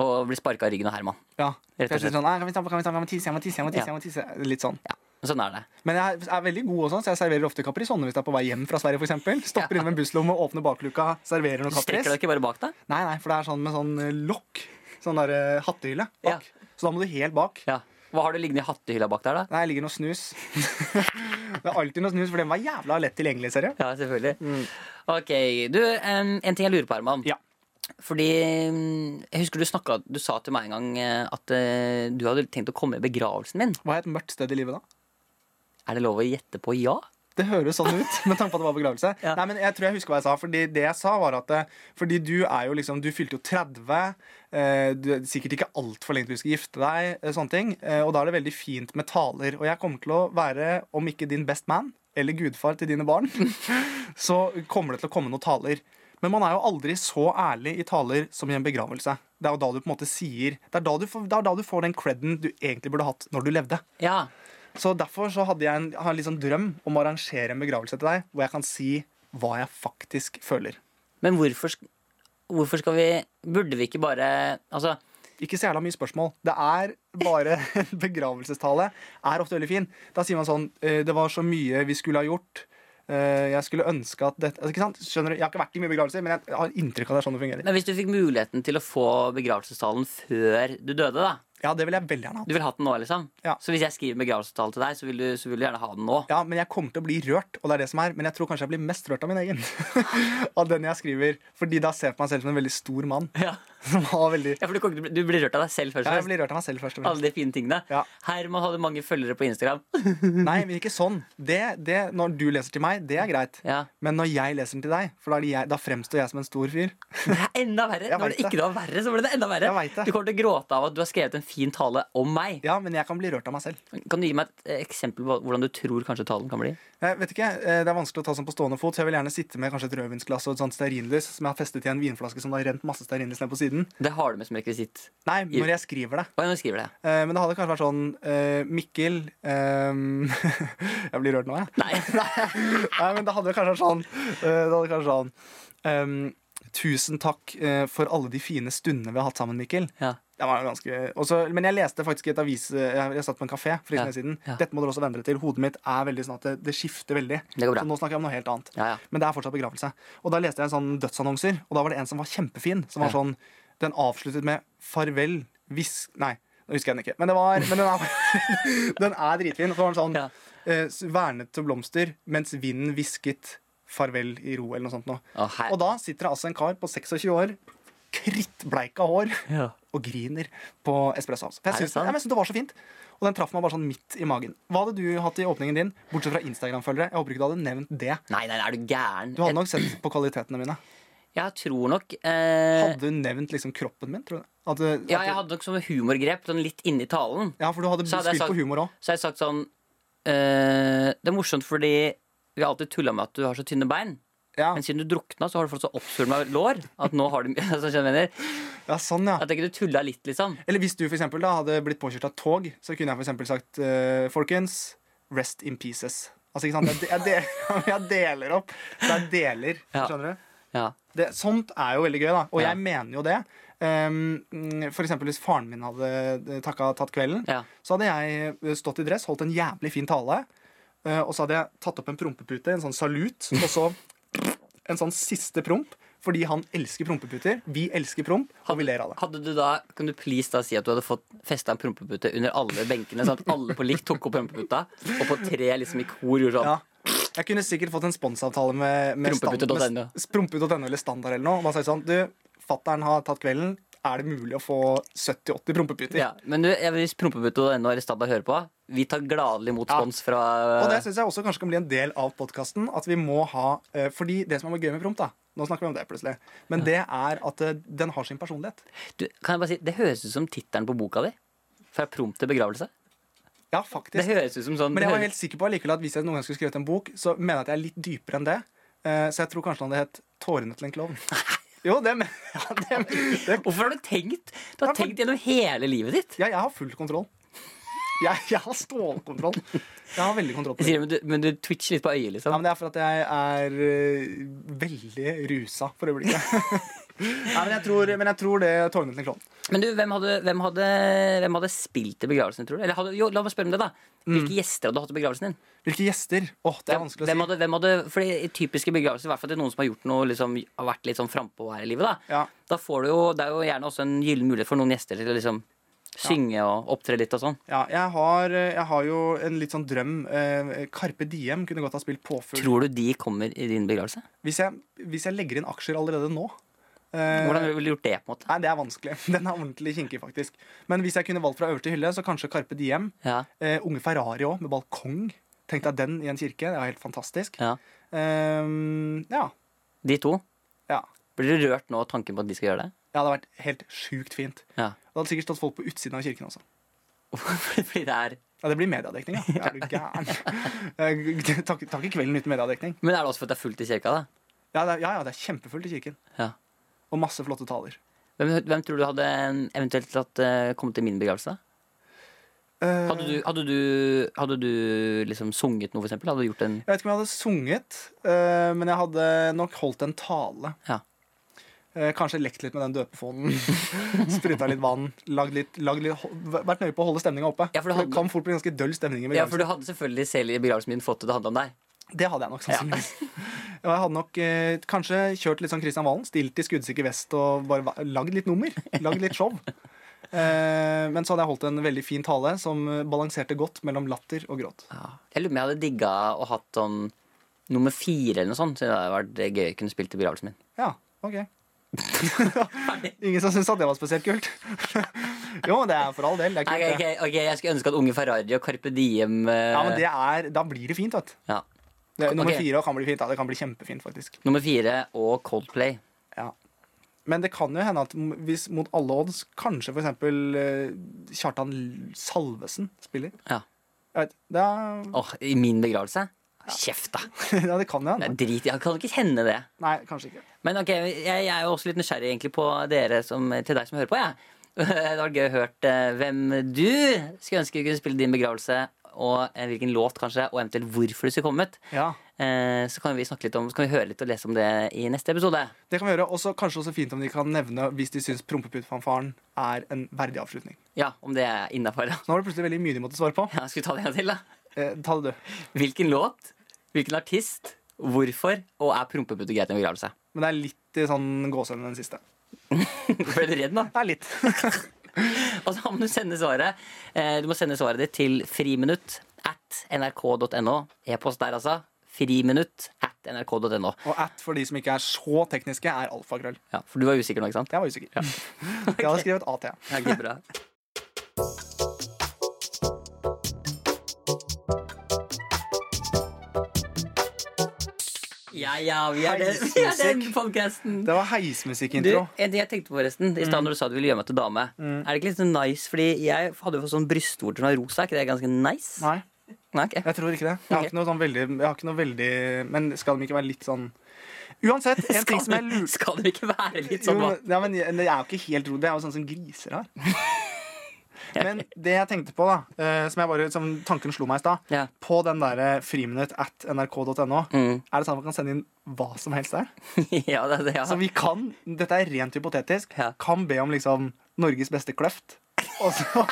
B: Og blir sparka av ryggen av Herman.
C: Ja.
B: Rett og
C: For jeg sitter
B: slett.
C: sånn, «Nei, kan vi ta- kan vi ta- kan vi tisse, jeg må tisse, jeg må tisse, jeg må tisse. Litt sånn.
B: Ja, Sånn er det.
C: Men jeg er veldig god også, så jeg serverer ofte kaprisonne hvis jeg er på vei hjem fra Sverige. For eksempel. Stopper innom en busslomme, åpner bakluka, serverer noe
B: Du strekker
C: kapris.
B: deg ikke bare bak deg?
C: Nei, nei, for det er sånn med sånn eh, lokk. Sånn der eh, hattehylle bak. Så da må du helt bak.
B: Ja. Hva har du liggende i hattehylla bak der, da?
C: Nei, det ligger noe snus. det er alltid noe snus, for den var jævla lett tilgjengelig, ser jeg.
B: Ja, selvfølgelig. Mm. Ok, du, em, En ting jeg lurer på, Herman.
C: Ja.
B: Fordi em, Jeg husker du snakket, du sa til meg en gang eh, at eh, du hadde tenkt å komme i begravelsen min.
C: Hva er et mørkt sted i livet, da?
B: Er det lov å gjette på ja?
C: Det høres sånn ut, med tanke på at det var begravelse.
B: Ja.
C: Nei, men jeg tror jeg husker hva jeg sa. Fordi det jeg sa var at eh, Fordi du er jo liksom Du fylte jo 30. eh, Du er sikkert ikke altfor lenge til du skal gifte deg, eh, sånne ting. eh, Og da er det veldig fint med taler. Og jeg kommer til å være, om ikke din best man, eller gudfar til dine barn, så kommer det til å komme noen taler. Men man er jo aldri så ærlig i taler som i en begravelse. Det er jo da du på en måte sier Det er da du får, det er da du får den creden du egentlig burde hatt når du levde.
B: Ja.
C: Så derfor så hadde jeg en, har en litt sånn drøm om å arrangere en begravelse til deg hvor jeg kan si hva jeg faktisk føler.
B: Men hvorfor, sk- hvorfor skal vi Burde vi ikke bare Altså,
C: Ikke så jævla mye spørsmål. Det er bare en begravelsestale. Er ofte veldig fin. Da sier man sånn eh, Det var så mye vi skulle ha gjort. eh, Jeg skulle ønske at dette altså, Ikke sant? Skjønner du? Jeg har ikke vært i mye begravelser, men jeg har inntrykk av det er sånn det fungerer.
B: men hvis du fikk muligheten til å få begravelsestalen før du døde, da.
C: Ja, det vil jeg veldig gjerne ha.
B: Du vil ha den nå, liksom?
C: Ja.
B: Så hvis jeg skriver begravelsestalen til deg, så vil, du, så vil du gjerne ha den nå?
C: Ja, men jeg kommer til å bli rørt, og det er det som er. Men jeg tror kanskje jeg blir mest rørt av min egen. av den jeg skriver. Fordi da ser jeg på meg selv som en veldig stor mann.
B: Ja,
C: Som har veldig
B: for du, kommer til å bli- du blir rørt av deg selv først.
C: Ja,
B: og
C: jeg
B: fremst.
C: blir rørt av meg selv først. og fremst.
B: Alle de fine tingene.
C: Ja.
B: Herman hadde mange følgere på Instagram.
C: Nei, men ikke sånn. Det, det, når du leser til meg, det er greit.
B: Ja.
C: Men når jeg leser den til deg, for da, er det jeg, da fremstår jeg som en stor fyr.
B: Det er enda verre.
C: Jeg
B: Når
C: vet
B: det ikke
C: det.
B: var verre, så ble det enda verre.
C: Jeg vet det.
B: Du kommer til å gråte av at du har skrevet en fin tale om meg.
C: Ja, men jeg kan bli rørt av meg selv.
B: Kan du gi meg et eh, eksempel på hvordan du tror kanskje talen kan bli?
C: Jeg vet ikke, eh, Det er vanskelig å ta sånn på stående fot, så jeg vil gjerne sitte med kanskje et rødvinsglass og et sånt stearinlys som jeg har festet i en vinflaske som det har rent masse stearinlys ned på siden.
B: Det har du med som rekvisitt.
C: Nei, når jeg skriver det.
B: Oi, nå skriver jeg det.
C: Eh, Men det hadde kanskje vært sånn eh, Mikkel eh, Jeg blir rørt nå, jeg.
B: Nei.
C: Nei, men det hadde kanskje vært sånn eh, Det hadde kanskje vært sånn ehm, Tusen takk eh, for alle de fine stundene vi har hatt sammen, Mikkel.
B: Ja.
C: Det var ganske og så- Men jeg leste faktisk i et avis eh, Jeg, jeg satt på en kafé for
B: Ja,
C: ikke lenge siden.
B: ja.
C: Dette må dere også vende dere til. Hodet mitt er veldig sånn at det, det skifter veldig.
B: Det går bra.
C: Så nå snakker jeg om noe helt annet.
B: Ja, ja.
C: Men det er fortsatt begravelse. Og da leste jeg en sånn dødsannonser, og da var det en som var kjempefin. Som var
B: Ja.
C: sånn Den avsluttet med 'farvel, hvisk Nei, nå husker jeg den ikke. Men, det var, men den, er, den er dritfin. Og så var den sånn
B: Ja.
C: eh, s- Vernet til blomster mens vinden hvisket 'farvel i ro', eller noe sånt noe.
B: Å, her-
C: Og da sitter det altså en kar på 26 år, krittbleika hår og griner på espresso house. For
B: Er
C: jeg
B: det
C: syns det,
B: sant?
C: ja, men jeg syns det var så fint. Og den traff meg bare sånn midt i magen. Hva hadde du hatt i åpningen din, bortsett fra Instagram-følgere? Jeg håper ikke du hadde nevnt det.
B: Nei, nei, er du gæren?
C: Du hadde nok sett på kvalitetene mine.
B: Jeg, jeg tror nok eh,
C: Hadde du nevnt liksom kroppen min, tror du? At, du-
B: Ja,
C: at
B: jeg
C: du-
B: hadde nok som humorgrep sånn litt inni talen.
C: ja, for du hadde
B: Så hadde jeg
C: spilt
B: sagt-
C: på humor òg.
B: Så har jeg sagt sånn eh, Det er morsomt fordi vi har alltid tulla med at du har så tynne bein.
C: Ja.
B: Men siden du drukna, så har du fått så oppsvulma lår at nå har du altså, skjønner du hva jeg mener?
C: ja, sånn, ja.
B: Jeg tenker du tulla litt, liksom.
C: Eller hvis du for eksempel, da hadde blitt påkjørt av tog, så kunne jeg for eksempel sagt eh, Folkens, rest in pieces. Altså, ikke sant? Jeg, de- jeg, deler, jeg deler opp. Det er deler.
B: Ja.
C: Skjønner du?
B: Ja.
C: det, sånt er jo veldig gøy, da. Og
B: Ja.
C: jeg mener jo det. Um, mm, for eksempel hvis faren min hadde eh, takka, tatt kvelden,
B: Ja.
C: så hadde jeg eh, stått i dress, holdt en jævlig fin tale, eh, og så hadde jeg tatt opp en prompepute, en sånn salut, og så en sånn siste promp. Fordi han elsker prompeputer, vi elsker promp, og vi ler av det.
B: Hadde du da, Kan du please da si at du hadde fått festa en prompepute under alle benkene, sånn at alle på likt tok opp prompeputa, og på tre liksom i kor gjorde sånn?
C: Ja. Jeg kunne sikkert fått en sponsavtale med, med stand-
B: Prompepute.no.
C: med s- Prompepute.no eller Standard eller noe. Og bare sagt sånn, du, fattern har tatt kvelden, er det mulig å få 70-80 prompeputer?
B: Ja, men du, jeg- hvis prompepute.no eller Standard hører på, vi tar gladelig imot
C: Ja.
B: spons fra
C: Og det syns jeg også kanskje kan bli en del av podkasten. At vi må ha eh, Fordi det som er gøy med promp, da Nå snakker vi om det plutselig. Men det er at eh, den har sin personlighet.
B: du, Kan jeg bare si, Det høres ut som tittelen på boka di. Fra promp til begravelse.
C: Ja,
B: Det
C: faktisk.
B: høres ut som sånn
C: Men jeg var
B: det høres-
C: helt sikker på allikevel at hvis jeg noen gang skulle skrevet en bok, så mener jeg at jeg er litt dypere enn det. Eh, Så jeg tror kanskje den hadde hett 'Tårene til en klovn'. Jo, det men- ja, det men- det-
B: Hvorfor har du tenkt? Du har
C: Ja, for-
B: tenkt gjennom hele livet ditt.
C: ja, jeg har full kontroll. Jeg, jeg har stålkontroll. Jeg har veldig kontroll på
B: Jeg
C: det.
B: sier det, men, du, men du twitcher litt på øyet,
C: Ja,
B: liksom.
C: men det er for at jeg er eh, veldig rusa for øyeblikket. Nei, men jeg tror, men jeg tror det 'Tårene til en klovn'.
B: Men du, hvem hadde, hvem hadde, hvem hadde spilt i begravelsen, tror du? Eller hadde, jo, la meg spørre om det, da. Hvilke gjester hadde du hatt i begravelsen din?
C: Hvilke gjester? Åh, Mm. det er vanskelig å si.
B: hvem hadde, hvem hadde, fordi I typiske begravelser, i hvert fall til noen som har gjort noe liksom, har vært litt sånn frampå her i livet, da,
C: Ja.
B: da får du jo, det er jo gjerne også en gyllen mulighet for noen gjester til å liksom synge og opptre litt og sånn.
C: Ja, jeg har, eh, jeg har jo en litt sånn drøm. Eh, Carpe Diem kunne godt ha spilt påfugl.
B: Tror du de kommer i din begravelse?
C: Hvis jeg, hvis jeg legger inn aksjer allerede nå eh,
B: Hvordan ville du gjort det? på en måte?
C: Nei, det er vanskelig. Den er ordentlig kinkig, faktisk. Men hvis jeg kunne valgt fra øverste hylle, så kanskje Carpe Diem.
B: Ja,
C: Eh, unge Ferrari òg, med balkong. Tenk deg den i en kirke. Det er helt fantastisk.
B: ja.
C: Eh, ja.
B: De to?
C: ja.
B: Blir du rørt nå av tanken på at de skal gjøre det?
C: Det hadde vært helt sjukt fint.
B: Ja.
C: Det hadde sikkert stått folk på utsiden av kirken også.
B: Fordi det er...
C: Ja, Det blir mediedekning, ja. Er du gæren? Eh, Takk takk i kvelden uten mediedekning.
B: Men er det også for at det er fullt i kirka, da?
C: Ja, det er, ja, ja, det er kjempefullt i kirken.
B: Ja.
C: Og masse flotte taler.
B: Hvem, hvem tror du hadde eventuelt hatt, eh, kommet til min begravelse? da?
C: Eh,
B: Hadde du, hadde du, hadde du liksom sunget noe, for eksempel? Hadde du gjort en
C: Jeg vet ikke om jeg hadde sunget, eh, men jeg hadde nok holdt en tale.
B: Ja.
C: Eh, kanskje lekt litt med den døpefonen. Spruta litt vann. Lagd litt, lagd litt, ho- vært nøye på å holde stemninga oppe.
B: Ja, for det
C: det
B: hadde-
C: kan fort bli ganske døll stemning. i
B: Ja, for
C: begravelsen.
B: du hadde selvfølgelig selv i begravelsen min fått det til å handle om deg.
C: Det hadde jeg nok sannsynligvis. Og jeg hadde nok eh, kanskje kjørt litt sånn Christian Valen. Stilt i skuddsikker vest og bare va- lagd litt nummer. Lagd litt show. Eh, men så hadde jeg holdt en veldig fin tale som eh, balanserte godt mellom latter og gråt.
B: Jeg lurer på om jeg hadde digga og hatt sånn nummer fire eller noe sånt. Så det hadde vært gøy å kunne spilt i begravelsen min.
C: Ja, ok. Ingen som syntes at det var spesielt kult? jo, det er for all del. Det er
B: Ok,
C: kult, det.
B: ok, ok, Jeg skulle ønske at Unge Ferrari og Carpe Diem eh,
C: Ja, men det er, da blir det fint, vet du.
B: ja.
C: Det, nummer
B: Ok.
C: fire kan bli fint. Ja, det kan bli kjempefint, faktisk.
B: Nummer fire og Coldplay.
C: Ja. Men det kan jo hende at m- hvis mot alle odds kanskje for eksempel eh, Kjartan L- Salvesen spiller.
B: Ja.
C: Jeg vet, det, er,
B: Åh, I min begravelse? Kjeft, da!
C: ja, det kan jo
B: Det
C: hende.
B: er drit, Jeg kan ikke kjenne det.
C: Nei, kanskje ikke.
B: Men ok, jeg, jeg er jo også litt nysgjerrig egentlig på dere som, til deg som hører på. Jeg. Det hadde vært gøy å høre hvem du skulle ønske kunne spille din begravelse, og eh, hvilken låt kanskje, og eventuelt hvorfor du skulle kommet.
C: Ja,
B: Eh, så kan vi snakke litt om Så kan vi høre litt og lese om det i neste episode.
C: Det kan vi gjøre. Og så kanskje også fint om de kan nevne hvis de syns Prompeputt-fanfaren er en verdig avslutning.
B: Ja, Om det er innafor.
C: Så nå var det plutselig veldig mye de måtte svare på.
B: Ja, skal vi ta det en gang til, da?
C: Eh, ta det, du.
B: Hvilken låt, hvilken artist, hvorfor, og er prompeputte greit i en begravelse?
C: Men det er litt i sånn gåsehud den siste.
B: Ble du redd, da?
C: Det er litt.
B: Og så må du sende svaret eh, Du må sende svaret ditt til friminutt at nrk.no. E-post der, altså. Friminutt at nrk.no.
C: Og at for de som ikke er så tekniske, er alfakrøll.
B: Ja, for du var usikker nå, ikke sant?
C: Jeg var usikker. Jeg hadde skrevet AT.
B: Ja, ok, bra. Ja, ja, vi er den, vi er den podcasten.
C: Det var
B: Du,
C: heismusikkintro.
B: en ting jeg tenkte på forresten I
C: Mm.
B: stedet når du sa du ville gjøre meg til dame Er det ikke litt sånn nice, fordi jeg hadde jo fått sånn brystvorter Som er rosa, er ikke det ganske nice?
C: Nei,
B: Nei, ok.
C: jeg tror ikke det. Jeg har ikke noe sånn veldig, jeg har ikke noe veldig Men skal de ikke være litt sånn Uansett, en ting som jeg
B: Skal,
C: lurer
B: skal det ikke være litt
C: jo,
B: sånn da?
C: ja, men jeg- Det er jo ikke helt ro, det er jo sånn som griser har. Men det jeg tenkte på, da, eh, som, jeg bare, som tanken slo meg i stad
B: Ja.
C: På den derre friminutt at nrk.no,
B: Mm.
C: er det sånn at man kan sende inn hva som helst der?
B: ja, det, det, ja.
C: Så vi kan, dette er rent hypotetisk,
B: Ja.
C: kan be om liksom Norges beste kløft. Og så,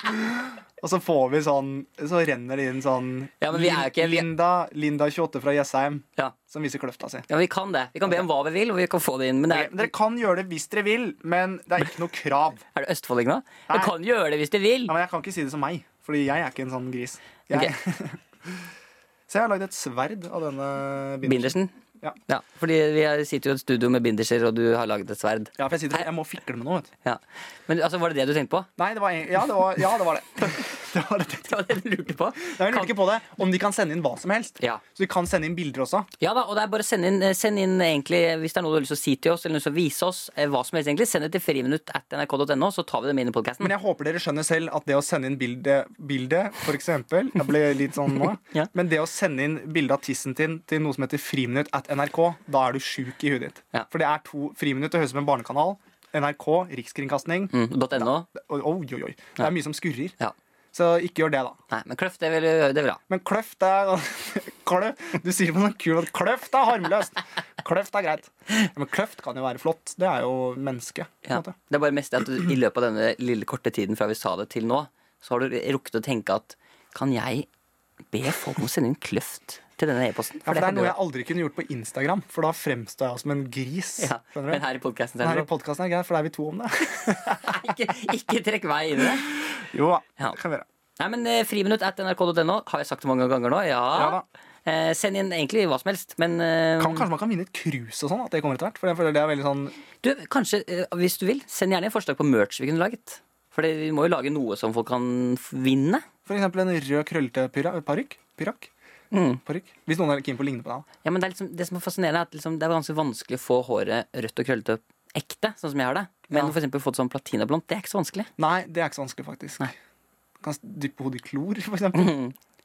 C: og så får vi sånn Så renner det inn sånn
B: Ja, men vi er jo ikke- vi-
C: Linda, Linda 28 fra Jessheim
B: ja.
C: som viser kløfta si.
B: ja, vi kan det Vi kan be om hva vi vil, og vi kan få det inn Men det
C: Dere,
B: er,
C: dere kan gjøre det hvis dere vil, men det er ikke noe krav.
B: er det østfolding nå?
C: Nei.
B: Du kan gjøre det hvis du vil
C: Ja, men jeg kan ikke si det som meg, Fordi jeg er ikke en sånn gris. Jeg, Så jeg har lagd et sverd av denne bindersen.
B: Bindersen
C: Ja.
B: ja, fordi vi er- sitter jo i et studio med binderser Og du har laget et sverd
C: Ja, for jeg, sitter, jeg må fikle med noe. vet du.
B: ja. Men altså, var det det du tenkte på?
C: Nei, det var, en- ja, det var, ja, det var det. Det var det.
B: Det var det du lurte på.
C: Jeg lurer ikke på det, om de kan sende inn hva som helst.
B: Ja.
C: Så de kan sende inn bilder også.
B: Ja da, og det er bare å sende inn, eh, send inn egentlig, eh, hvis det er noe du har lyst til å si til oss, eller noe som viser oss, eh, hva som helst egentlig, send det til friminutt at nrk.no, så tar vi det med inn i podcasten.
C: Men jeg håper dere skjønner selv at det å sende inn bilde, bilde for eksempel Jeg ble litt sånn nå.
B: Ja.
C: Men det å sende inn bilde av tissen din til noe som heter Friminutt at NRK, da er du sjuk i huet ditt.
B: Ja.
C: For det er to Friminutt det høres ut som en barnekanal. NRK, Rikskringkasting.
B: Mm, .no.
C: Oi, oi, oi. Det er mye som skurrer.
B: Ja.
C: Så ikke gjør det, da.
B: Nei, men kløft, det vil du det vil du ha.
C: Men kløft er kløft. Du sier på noen kul at kløft er harmløst. Kløft er greit. Ja, men kløft kan jo være flott. Det er jo menneske. på en
B: Ja.
C: måte.
B: Det er bare mest det at du, i løpet av denne lille korte tiden fra vi sa det til nå, så har du rukket å tenke at kan jeg be folk om å sende inn kløft til denne e-posten?
C: Ja, for det
B: kan
C: er
B: du
C: noe
B: gjøre.
C: jeg aldri kunne gjort på Instagram, for da fremstår jeg som en gris.
B: ja.
C: Skjønner du?
B: Men her i podcasten
C: Men
B: er
C: her
B: det
C: i podkasten er det greit, for da er vi to om det.
B: Nei, ikke, ikke trekk meg inn i det.
C: Jo da,
B: Ja.
C: det kan vi gjøre.
B: Nei, men eh, friminutt at nrk.no har jeg sagt det mange ganger nå. Ja.
C: Ja
B: eh, send inn egentlig hva som helst, men eh,
C: Kan, kanskje man kan vinne et cruise og sånn? At det kommer etter hvert? For jeg føler det er veldig sånn
B: Du, kanskje, eh, hvis du vil, send gjerne forslag på merch vi kunne laget. For vi må jo lage noe som folk kan f- vinne.
C: For eksempel en rød, krøllete pyra- parykk. Pyrakk?
B: Mm.
C: Parykk? Hvis noen er keen på å ligne på deg. da.
B: Ja, men det, er liksom, det som er fascinerende, er at liksom, det er ganske vanskelig å få håret rødt og krøllete ekte, sånn som jeg har det. Men
C: Ja.
B: for eksempel få det sånn platinablondt, det er ikke så vanskelig.
C: Nei, det er ikke så vanskelig, faktisk.
B: Nei.
C: Kan dyppe hodet i klor, for eksempel.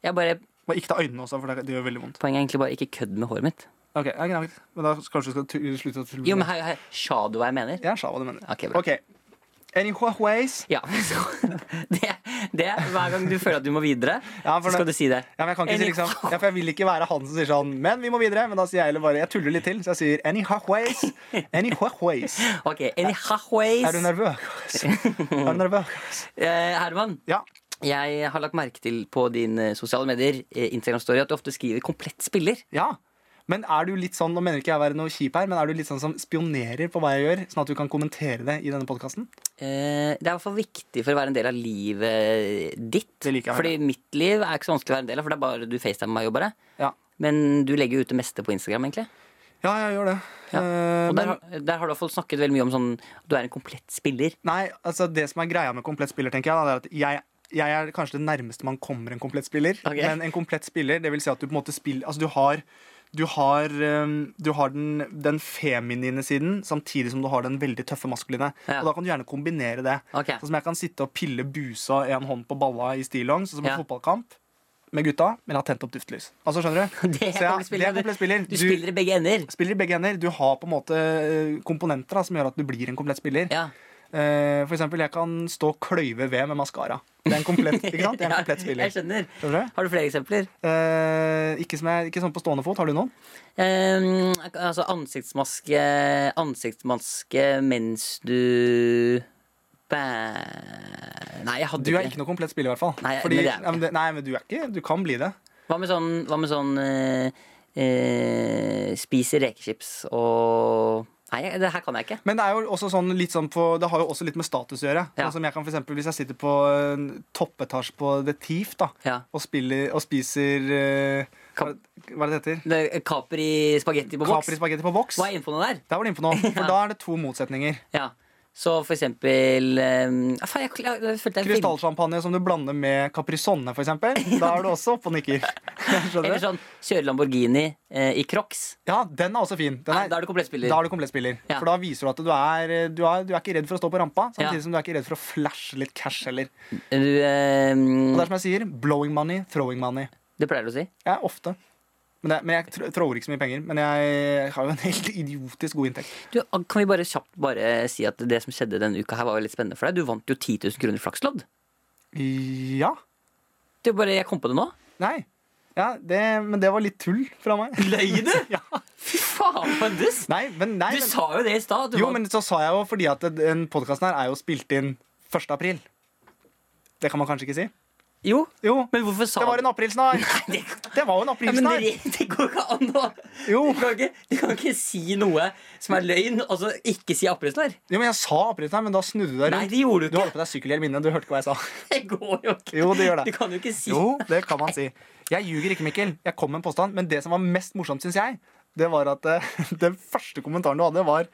B: Jeg bare,
C: Og ikke ta øynene også, for det, det gjør veldig vondt.
B: poenget er egentlig bare ikke kødd med håret mitt.
C: Ok, ja, greit. Men da kanskje du skal tu- slutte å tulle?
B: Jo, men her, her, sa du hva jeg mener?
C: Jeg sa hva du mener.
B: Ok, bra.
C: ok. Any Huaweis?
B: Ja, så det, det, hver gang du føler at du må videre,
C: Ja, for
B: så skal
C: det-
B: du si det.
C: Ja, men jeg kan ikke si
B: Any-
C: liksom ja, For jeg vil ikke være han som sier sånn Men vi må videre. Men da sier jeg heller bare Jeg tuller litt til, så jeg sier Any Huaweis? Any Huaweis?
B: Ok, any halfways.
C: Er du nervøs? Er du nervøs?
B: Eh, Herman,
C: Ja.
B: jeg har lagt merke til på dine sosiale medier eh, Instagram-story at du ofte skriver 'komplett spiller'.
C: ja. Men er du litt sånn, nå mener ikke jeg å være noe kjip her, men er du litt sånn som spionerer på hva jeg gjør, sånn at du kan kommentere det i denne podkasten?
B: Eh, det er i hvert fall viktig for å være en del av livet ditt.
C: Det liker jeg.
B: Fordi mitt liv er ikke så vanskelig å være en del av, for det er bare du facetimer meg og bare.
C: Ja.
B: Men du legger jo ut det meste på Instagram, egentlig.
C: ja, jeg gjør det.
B: Ja.
C: Eh,
B: Og
C: men-
B: der, har- der har du i hvert fall snakket veldig mye om sånn at du er en komplett spiller.
C: Nei, altså det som er greia med komplett spiller, tenker jeg, da, det er at jeg, jeg er kanskje det nærmeste man kommer en komplett spiller.
B: Ok.
C: Men en komplett spiller, det vil si at du på en måte spiller Altså du har du har, um, du har den, den feminine siden samtidig som du har den veldig tøffe maskuline.
B: Ja.
C: Og da kan du gjerne kombinere det.
B: Ok.
C: Sånn som jeg kan sitte og pille busa i en hånd på balla i stillongs, sånn som
B: Ja.
C: en fotballkamp med gutta, men har tent opp duftlys. Altså, skjønner du?
B: Det er
C: Så ja,
B: komplett spiller.
C: det er komplett spiller.
B: Du, spiller i begge ender.
C: spiller i begge ender. Du har på en måte eh, komponenter da, som gjør at du blir en komplett spiller.
B: Ja.
C: Eh, For eksempel, jeg kan stå og kløyve ved med maskara. Det er en komplett, ikke sant? Det er en komplett
B: Ja, jeg
C: spiller.
B: skjønner.
C: Skjønner du?
B: Har du flere eksempler?
C: Eh, ikke, som jeg, ikke sånn på stående fot. Har du noen?
B: Eh, altså ansiktsmaske Ansiktsmaske mens du bæ... Nei, jeg hadde
C: Du er ikke noe komplett spiller, i hvert fall.
B: Nei, men
C: Fordi,
B: det er jeg
C: ja, men det, nei, men du er ikke Du kan bli det.
B: Hva med sånn, hva med sånn eh, eh, Spiser rekechips og Nei, det her kan jeg ikke.
C: Men det er jo også sånn litt sånn på Det har jo også litt med status å gjøre.
B: Ja.
C: Sånn som jeg kan for eksempel, Hvis jeg sitter på en toppetasje på The Thief da,
B: Ja.
C: og, spiller, og spiser eh, hva,
B: Kap-
C: hva er det det heter?
B: Det er Kapri spagetti på boks.
C: Capri spagetti på boks.
B: Hva er infoen der?
C: Der var du inne på noe. For
B: Ja.
C: da er det to motsetninger.
B: Ja. Så for eksempel eh, ja, faen, jeg, jeg, jeg følte jeg
C: Krystallsjampanje som du blander med Caprisonne, for eksempel. Da er du også oppe og nikker. Skjønner
B: Eller
C: du?
B: sånn kjøre Lamborghini eh, i Crocs.
C: Ja, den er også fin. Den
B: Nei,
C: er,
B: da er du komplett spiller.
C: da er du komplett spiller.
B: Ja.
C: For da viser du at du er, du, er, du er ikke redd for å stå på rampa, samtidig
B: Ja.
C: som du er ikke redd for å flashe litt cash heller.
B: Du, eh,
C: Og det er sånn- som jeg sier, blowing money, throwing money.
B: det pleier du å si.
C: Jeg er ofte. Men, det, men jeg tr- tror ikke så mye penger. Men jeg har jo en helt idiotisk god inntekt.
B: Du, kan vi bare kjapt bare si at det som skjedde denne uka her var jo litt spennende for deg? Du vant jo 10 000 kroner i flakslodd.
C: Ja.
B: Det er bare, jeg kom på det nå.
C: Nei. Ja, det, men det var litt tull fra meg.
B: Løy du?
C: Ja.
B: Fy faen, for en dust!
C: Nei, men, nei,
B: Du
C: men,
B: sa jo det i stad. at du
C: Jo,
B: vant-
C: men så sa jeg jo fordi at den podkasten her er jo spilt inn 1. april. Det kan man kanskje ikke si?
B: jo,
C: Jo,
B: men hvorfor sa
C: det var en aprilsnarr!
B: Nei, det,
C: Det var jo
B: ja, men
C: en aprilsnarr!
B: det, det går ikke an å
C: Jo.
B: Du kan, ikke, du kan ikke si noe som er løgn, og så ikke si aprilsnarr.
C: Jo, men jeg sa aprilsnarr, men da snudde du deg
B: Nei,
C: rundt.
B: det gjorde du
C: Du
B: ikke.
C: hadde på deg sykkelhjelm inne, du hørte ikke hva jeg sa.
B: Det går jo ikke.
C: Jo, det gjør det.
B: Du kan jo ikke si
C: Jo, det kan man si. Jeg ljuger ikke, Mikkel. Jeg kom med en påstand, men det som var mest morsomt, syns jeg, det var at eh, den første kommentaren du hadde, var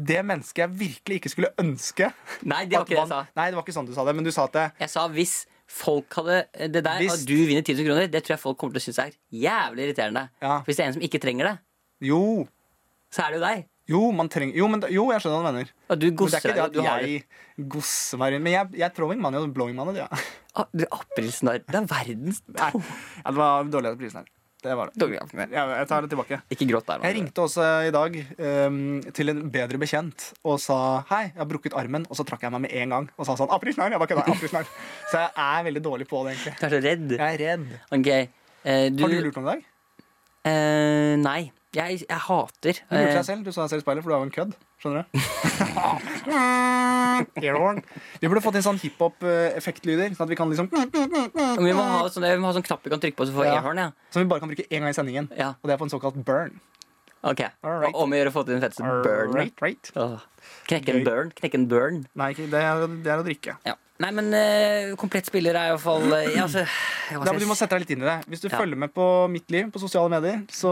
C: det mennesket jeg virkelig ikke skulle ønske
B: Nei, det var
C: at
B: ikke det jeg sa.
C: vant- Nei, det var ikke sånn du sa det, men du sa at det
B: Jeg sa hvis Folk hadde, eh, det der
C: Hvis-
B: at du vinner 10 000 kroner, det tror jeg folk kommer til å synes er jævlig irriterende.
C: Ja.
B: Hvis det er en som ikke trenger det,
C: Jo,
B: så er det jo deg.
C: jo, man trenger, jo, men, da- jo jeg skjønner hva du mener.
B: Og du
C: Men det er
B: gosser
C: ikke
B: deg.
C: det
B: og Du har
C: at jeg gosser meg rundt. Men jeg, jeg er throwing money og blowing money. Ja.
B: Ah, du er aprilsnarr. Det er verdens
C: Nei, ja, det var dårlig av prisen her. Det var det.
B: Dårlig.
C: Jeg, jeg tar det tilbake.
B: Ikke gråt der,
C: Jeg
B: nå.
C: ringte også i dag ehm, til en bedre bekjent og sa hei, jeg har brukket armen. Og så trakk jeg meg med en gang og sa sånn aprilsnarr. Jeg bare kødda. aprilsnarr." Så jeg er veldig dårlig på det, egentlig.
B: Du er så redd.
C: Jeg er redd.
B: Ok. eh, du,
C: Har du lurt noen i dag?
B: Eh, nei. Jeg, jeg hater
C: Du lurte
B: eh,
C: deg selv. Du så deg selv i speilet, for du er jo en kødd. Skjønner du? Earhorn. Vi burde fått inn sånn hiphop-effektlyder, sånn at vi kan liksom
B: men Vi må ha sånn, vi må ha sånn knapp vi kan trykke på, så vi får
C: Ja.
B: airhorn. Ja.
C: Som vi bare kan bruke én gang i sendingen.
B: Ja.
C: Og det er på en såkalt burn.
B: Ok.
C: Alright.
B: Om å gjøre å få til den feteste burn.
C: Right, right.
B: Åh. Knekke
C: Gøy.
B: en burn. Knekke en burn.
C: Nei, ikke- det er, det er å drikke.
B: Ja. Nei, men eh, komplett spiller er iallfall uh, ja, altså, hva
C: Nei,
B: skal
C: men
B: jeg
C: du må
B: si?
C: sette deg litt inn i det. Hvis du
B: Ja.
C: følger med på mitt liv på sosiale medier, så,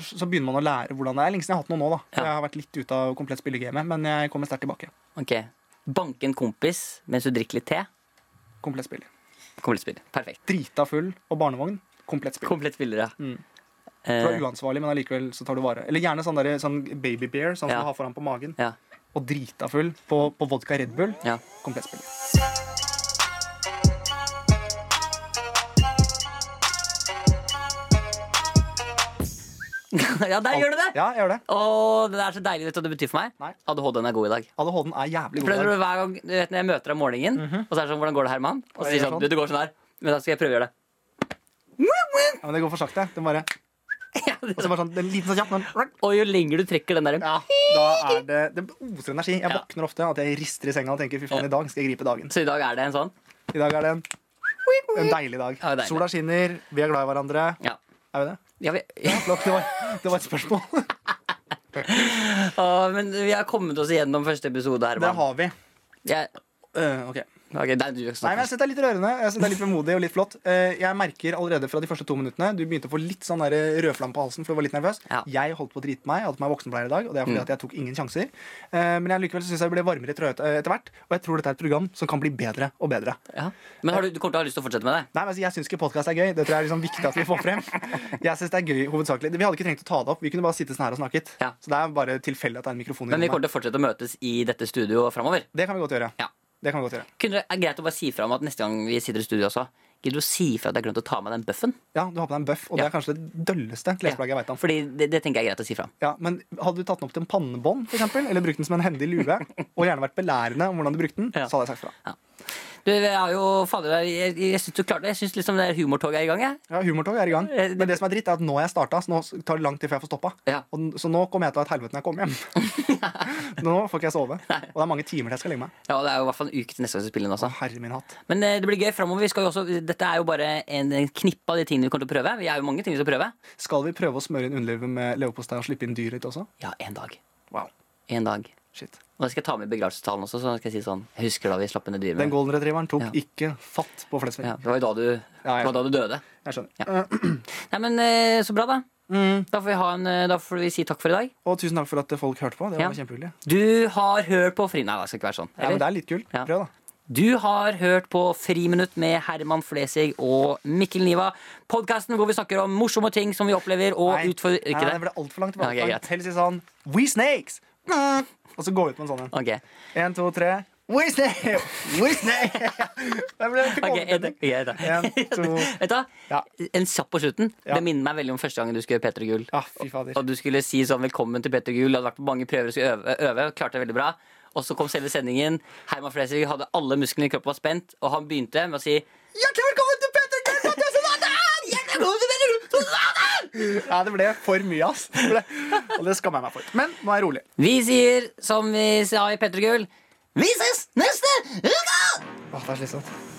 C: så begynner man å lære hvordan det er. Lenge siden jeg har hatt noe nå, da.
B: Ja.
C: Jeg har vært litt ute av komplett spillegamet, men jeg kommer sterkt tilbake.
B: Ok. Banke en kompis mens du drikker litt te.
C: Komplett spill.
B: Komplett spill. Perfekt.
C: Drita full og barnevogn. Komplett spill.
B: Komplett spiller, ja.
C: Mm.
B: Eh,
C: Du er uansvarlig, men allikevel så tar du vare. Eller gjerne sånn, der, sånn baby bear, sånn
B: Ja.
C: som du har foran på magen.
B: ja.
C: Og drita full på, på vodka Red Bull.
B: ja.
C: Komplett spill.
B: ja, der gjør du det!
C: Ja, jeg gjør det.
B: Åh, det er så deilig. Vet du hva det betyr for meg?
C: Nei.
B: ADHD-en er god i dag.
C: ADHD-en er jævlig
B: For
C: god.
B: det
C: i
B: tror
C: dag.
B: du hver gang du vet, Når jeg møter deg om morgenen, og så er det sånn 'Hvordan går det, Herman?' Og så sier
C: jeg
B: jeg
C: gjør
B: sånn 'Du, det går sånn her'. Men da skal jeg prøve å gjøre det.
C: Ja, men det går for sakte. Den bare,
B: Ja, det
C: og så bare sånn, den liten sånn kjapp. den-
B: og jo lenger du trekker den der
C: Ja, da er det Det oser energi. Jeg
B: Ja.
C: våkner ofte at jeg rister i senga og tenker fy faen, i dag skal jeg gripe dagen.
B: Så i dag er det en sånn.
C: I dag er det en, en deilig dag.
B: Ja, deilig.
C: Sola skinner, vi er glad i hverandre.
B: Ja.
C: Er vi det?
B: Ja, vi,
C: Flott, det var, det var et spørsmål.
B: Åh, men vi har kommet oss igjennom første episode,
C: Det
B: Herman.
C: har vi.
B: Jeg,
C: Eh, ok.
B: ok, nei, du
C: Nei, men
B: snakker.
C: Jeg syns det er litt rørende Jeg synes det er litt vemodig og litt flott. Eh, Jeg merker allerede fra de første to minuttene Du begynte å få litt sånn der rødflamme på halsen, for du var litt nervøs.
B: Ja.
C: Jeg holdt på å drite meg. Jeg hadde på meg voksenbleier i dag, og det er fordi at jeg tok ingen sjanser. Eh, Men jeg likevel syns jeg ble varmere i trøya et- etter hvert, og jeg tror dette er et program som kan bli bedre og bedre.
B: Ja. Men har du, du kommer til å ha lyst til å fortsette med det?
C: Nei, men altså, Jeg syns ikke podkast er gøy. Det tror jeg er liksom viktig at vi får frem. Jeg synes det er gøy hovedsakelig Vi hadde ikke trengt å ta det opp. Vi kunne bare sitte sånn her og snakket.
B: Ja.
C: Så det er bare tilfeldig at det er en mikrofon i
B: Men vi
C: rommet.
B: kommer til å fortsette å møtes i dette studioet framover.
C: Det kan vi godt gjøre.
B: Ja.
C: Det kan vi godt gjøre.
B: Kunne det er greit å bare si fra om at neste gang vi sitter i studio også, gidder du å si fra at jeg har glemt å ta med den bøffen?
C: Ja, Du har på deg en bøff, og det
B: Ja.
C: er kanskje det dølleste klesplagget jeg vet om.
B: Fordi det, det tenker jeg er greit å si fra om.
C: Ja, men Hadde du tatt den opp til en pannebånd, for eksempel, eller brukt den som en hendig lue, og gjerne vært belærende om hvordan du brukte den,
B: Ja.
C: så hadde jeg sagt fra.
B: Du, jeg har jo fader, jeg, jeg, jeg syns du klarte det. Jeg syns liksom det humortoget er i gang, jeg.
C: Ja, Humortog er i gang.
B: Eh, det-
C: Men det som er dritt, er at nå har jeg starta, så nå tar det lang tid før jeg får stoppa.
B: Ja.
C: Og, n- så nå kommer jeg til å ha et helvete når jeg kommer hjem. nå får ikke jeg sove. Og det er mange timer til jeg skal legge meg.
B: Ja, det er jo i hvert fall en uke til neste gang vi spiller inn også.
C: Herre min hatt.
B: Men eh, det blir gøy fremover. Vi skal jo også, dette er jo bare en en knippe av de tingene vi kommer til å prøve. Vi er jo mange ting vi skal prøve.
C: Skal vi prøve å smøre inn underlivet med leverpostei og slippe inn dyr litt også?
B: Ja, en dag.
C: Wow,
B: En dag.
C: shit
B: Og da skal jeg ta med i begravelsestalen også, så skal jeg si sånn Jeg husker da vi slapp ned dyret. med-
C: Den golden retrieveren tok
B: Ja.
C: ikke fatt på Flesvig.
B: Ja, det var jo da du,
C: Ja,
B: det
C: jeg
B: var da du døde.
C: Jeg skjønner.
B: Nei, men eh, så bra, da.
C: Mm.
B: Da får, vi ha en, eh, da får vi si takk for i dag.
C: Og tusen takk for at folk hørte på. Det var
B: Ja.
C: kjempehyggelig.
B: Du har hørt på Fri... Nei, det skal ikke være sånn.
C: Ja, men
B: Eller?
C: det er litt kult.
B: Ja.
C: Prøv, da.
B: Du har hørt på Friminutt med Herman Flesig og Mikkel Niva. Podkasten hvor vi snakker om morsomme ting som vi opplever og
C: Nei,
B: utfordrer
C: nei,
B: Ikke
C: det
B: det?
C: ble altfor langt.
B: Ja, ok, greit.
C: tilbake. Heller si sånn We Snakes! Og så gå ut med en sånn en.
B: Ok.
C: En, to, tre. We Snakes! We Snakes! Det ble jeg fikk
B: Ok, en,
C: overtenning.
B: ja, da.
C: En, to
B: Vet du hva?
C: Ja.
B: En kjapp på slutten.
C: Ja.
B: Det minner meg veldig om første gangen du skulle gjøre Peter Gull.
C: Ja, fy fader.
B: Og du skulle si sånn 'velkommen til Peter Gull'. Du hadde vært på mange prøver og skulle øve, øve og klarte det veldig bra. Og så kom selve sendingen. Herman Flesvig hadde alle musklene i kroppen var spent, og han begynte med å si
C: Hjertelig velkommen til Petter Gull Ja, det ble for mye, ass. Det ble, og det skammer jeg meg for. Men nå er jeg rolig.
B: Vi sier som vi sa i Peter Gull. Vi ses neste uke!
C: Åh, det er slitsomt.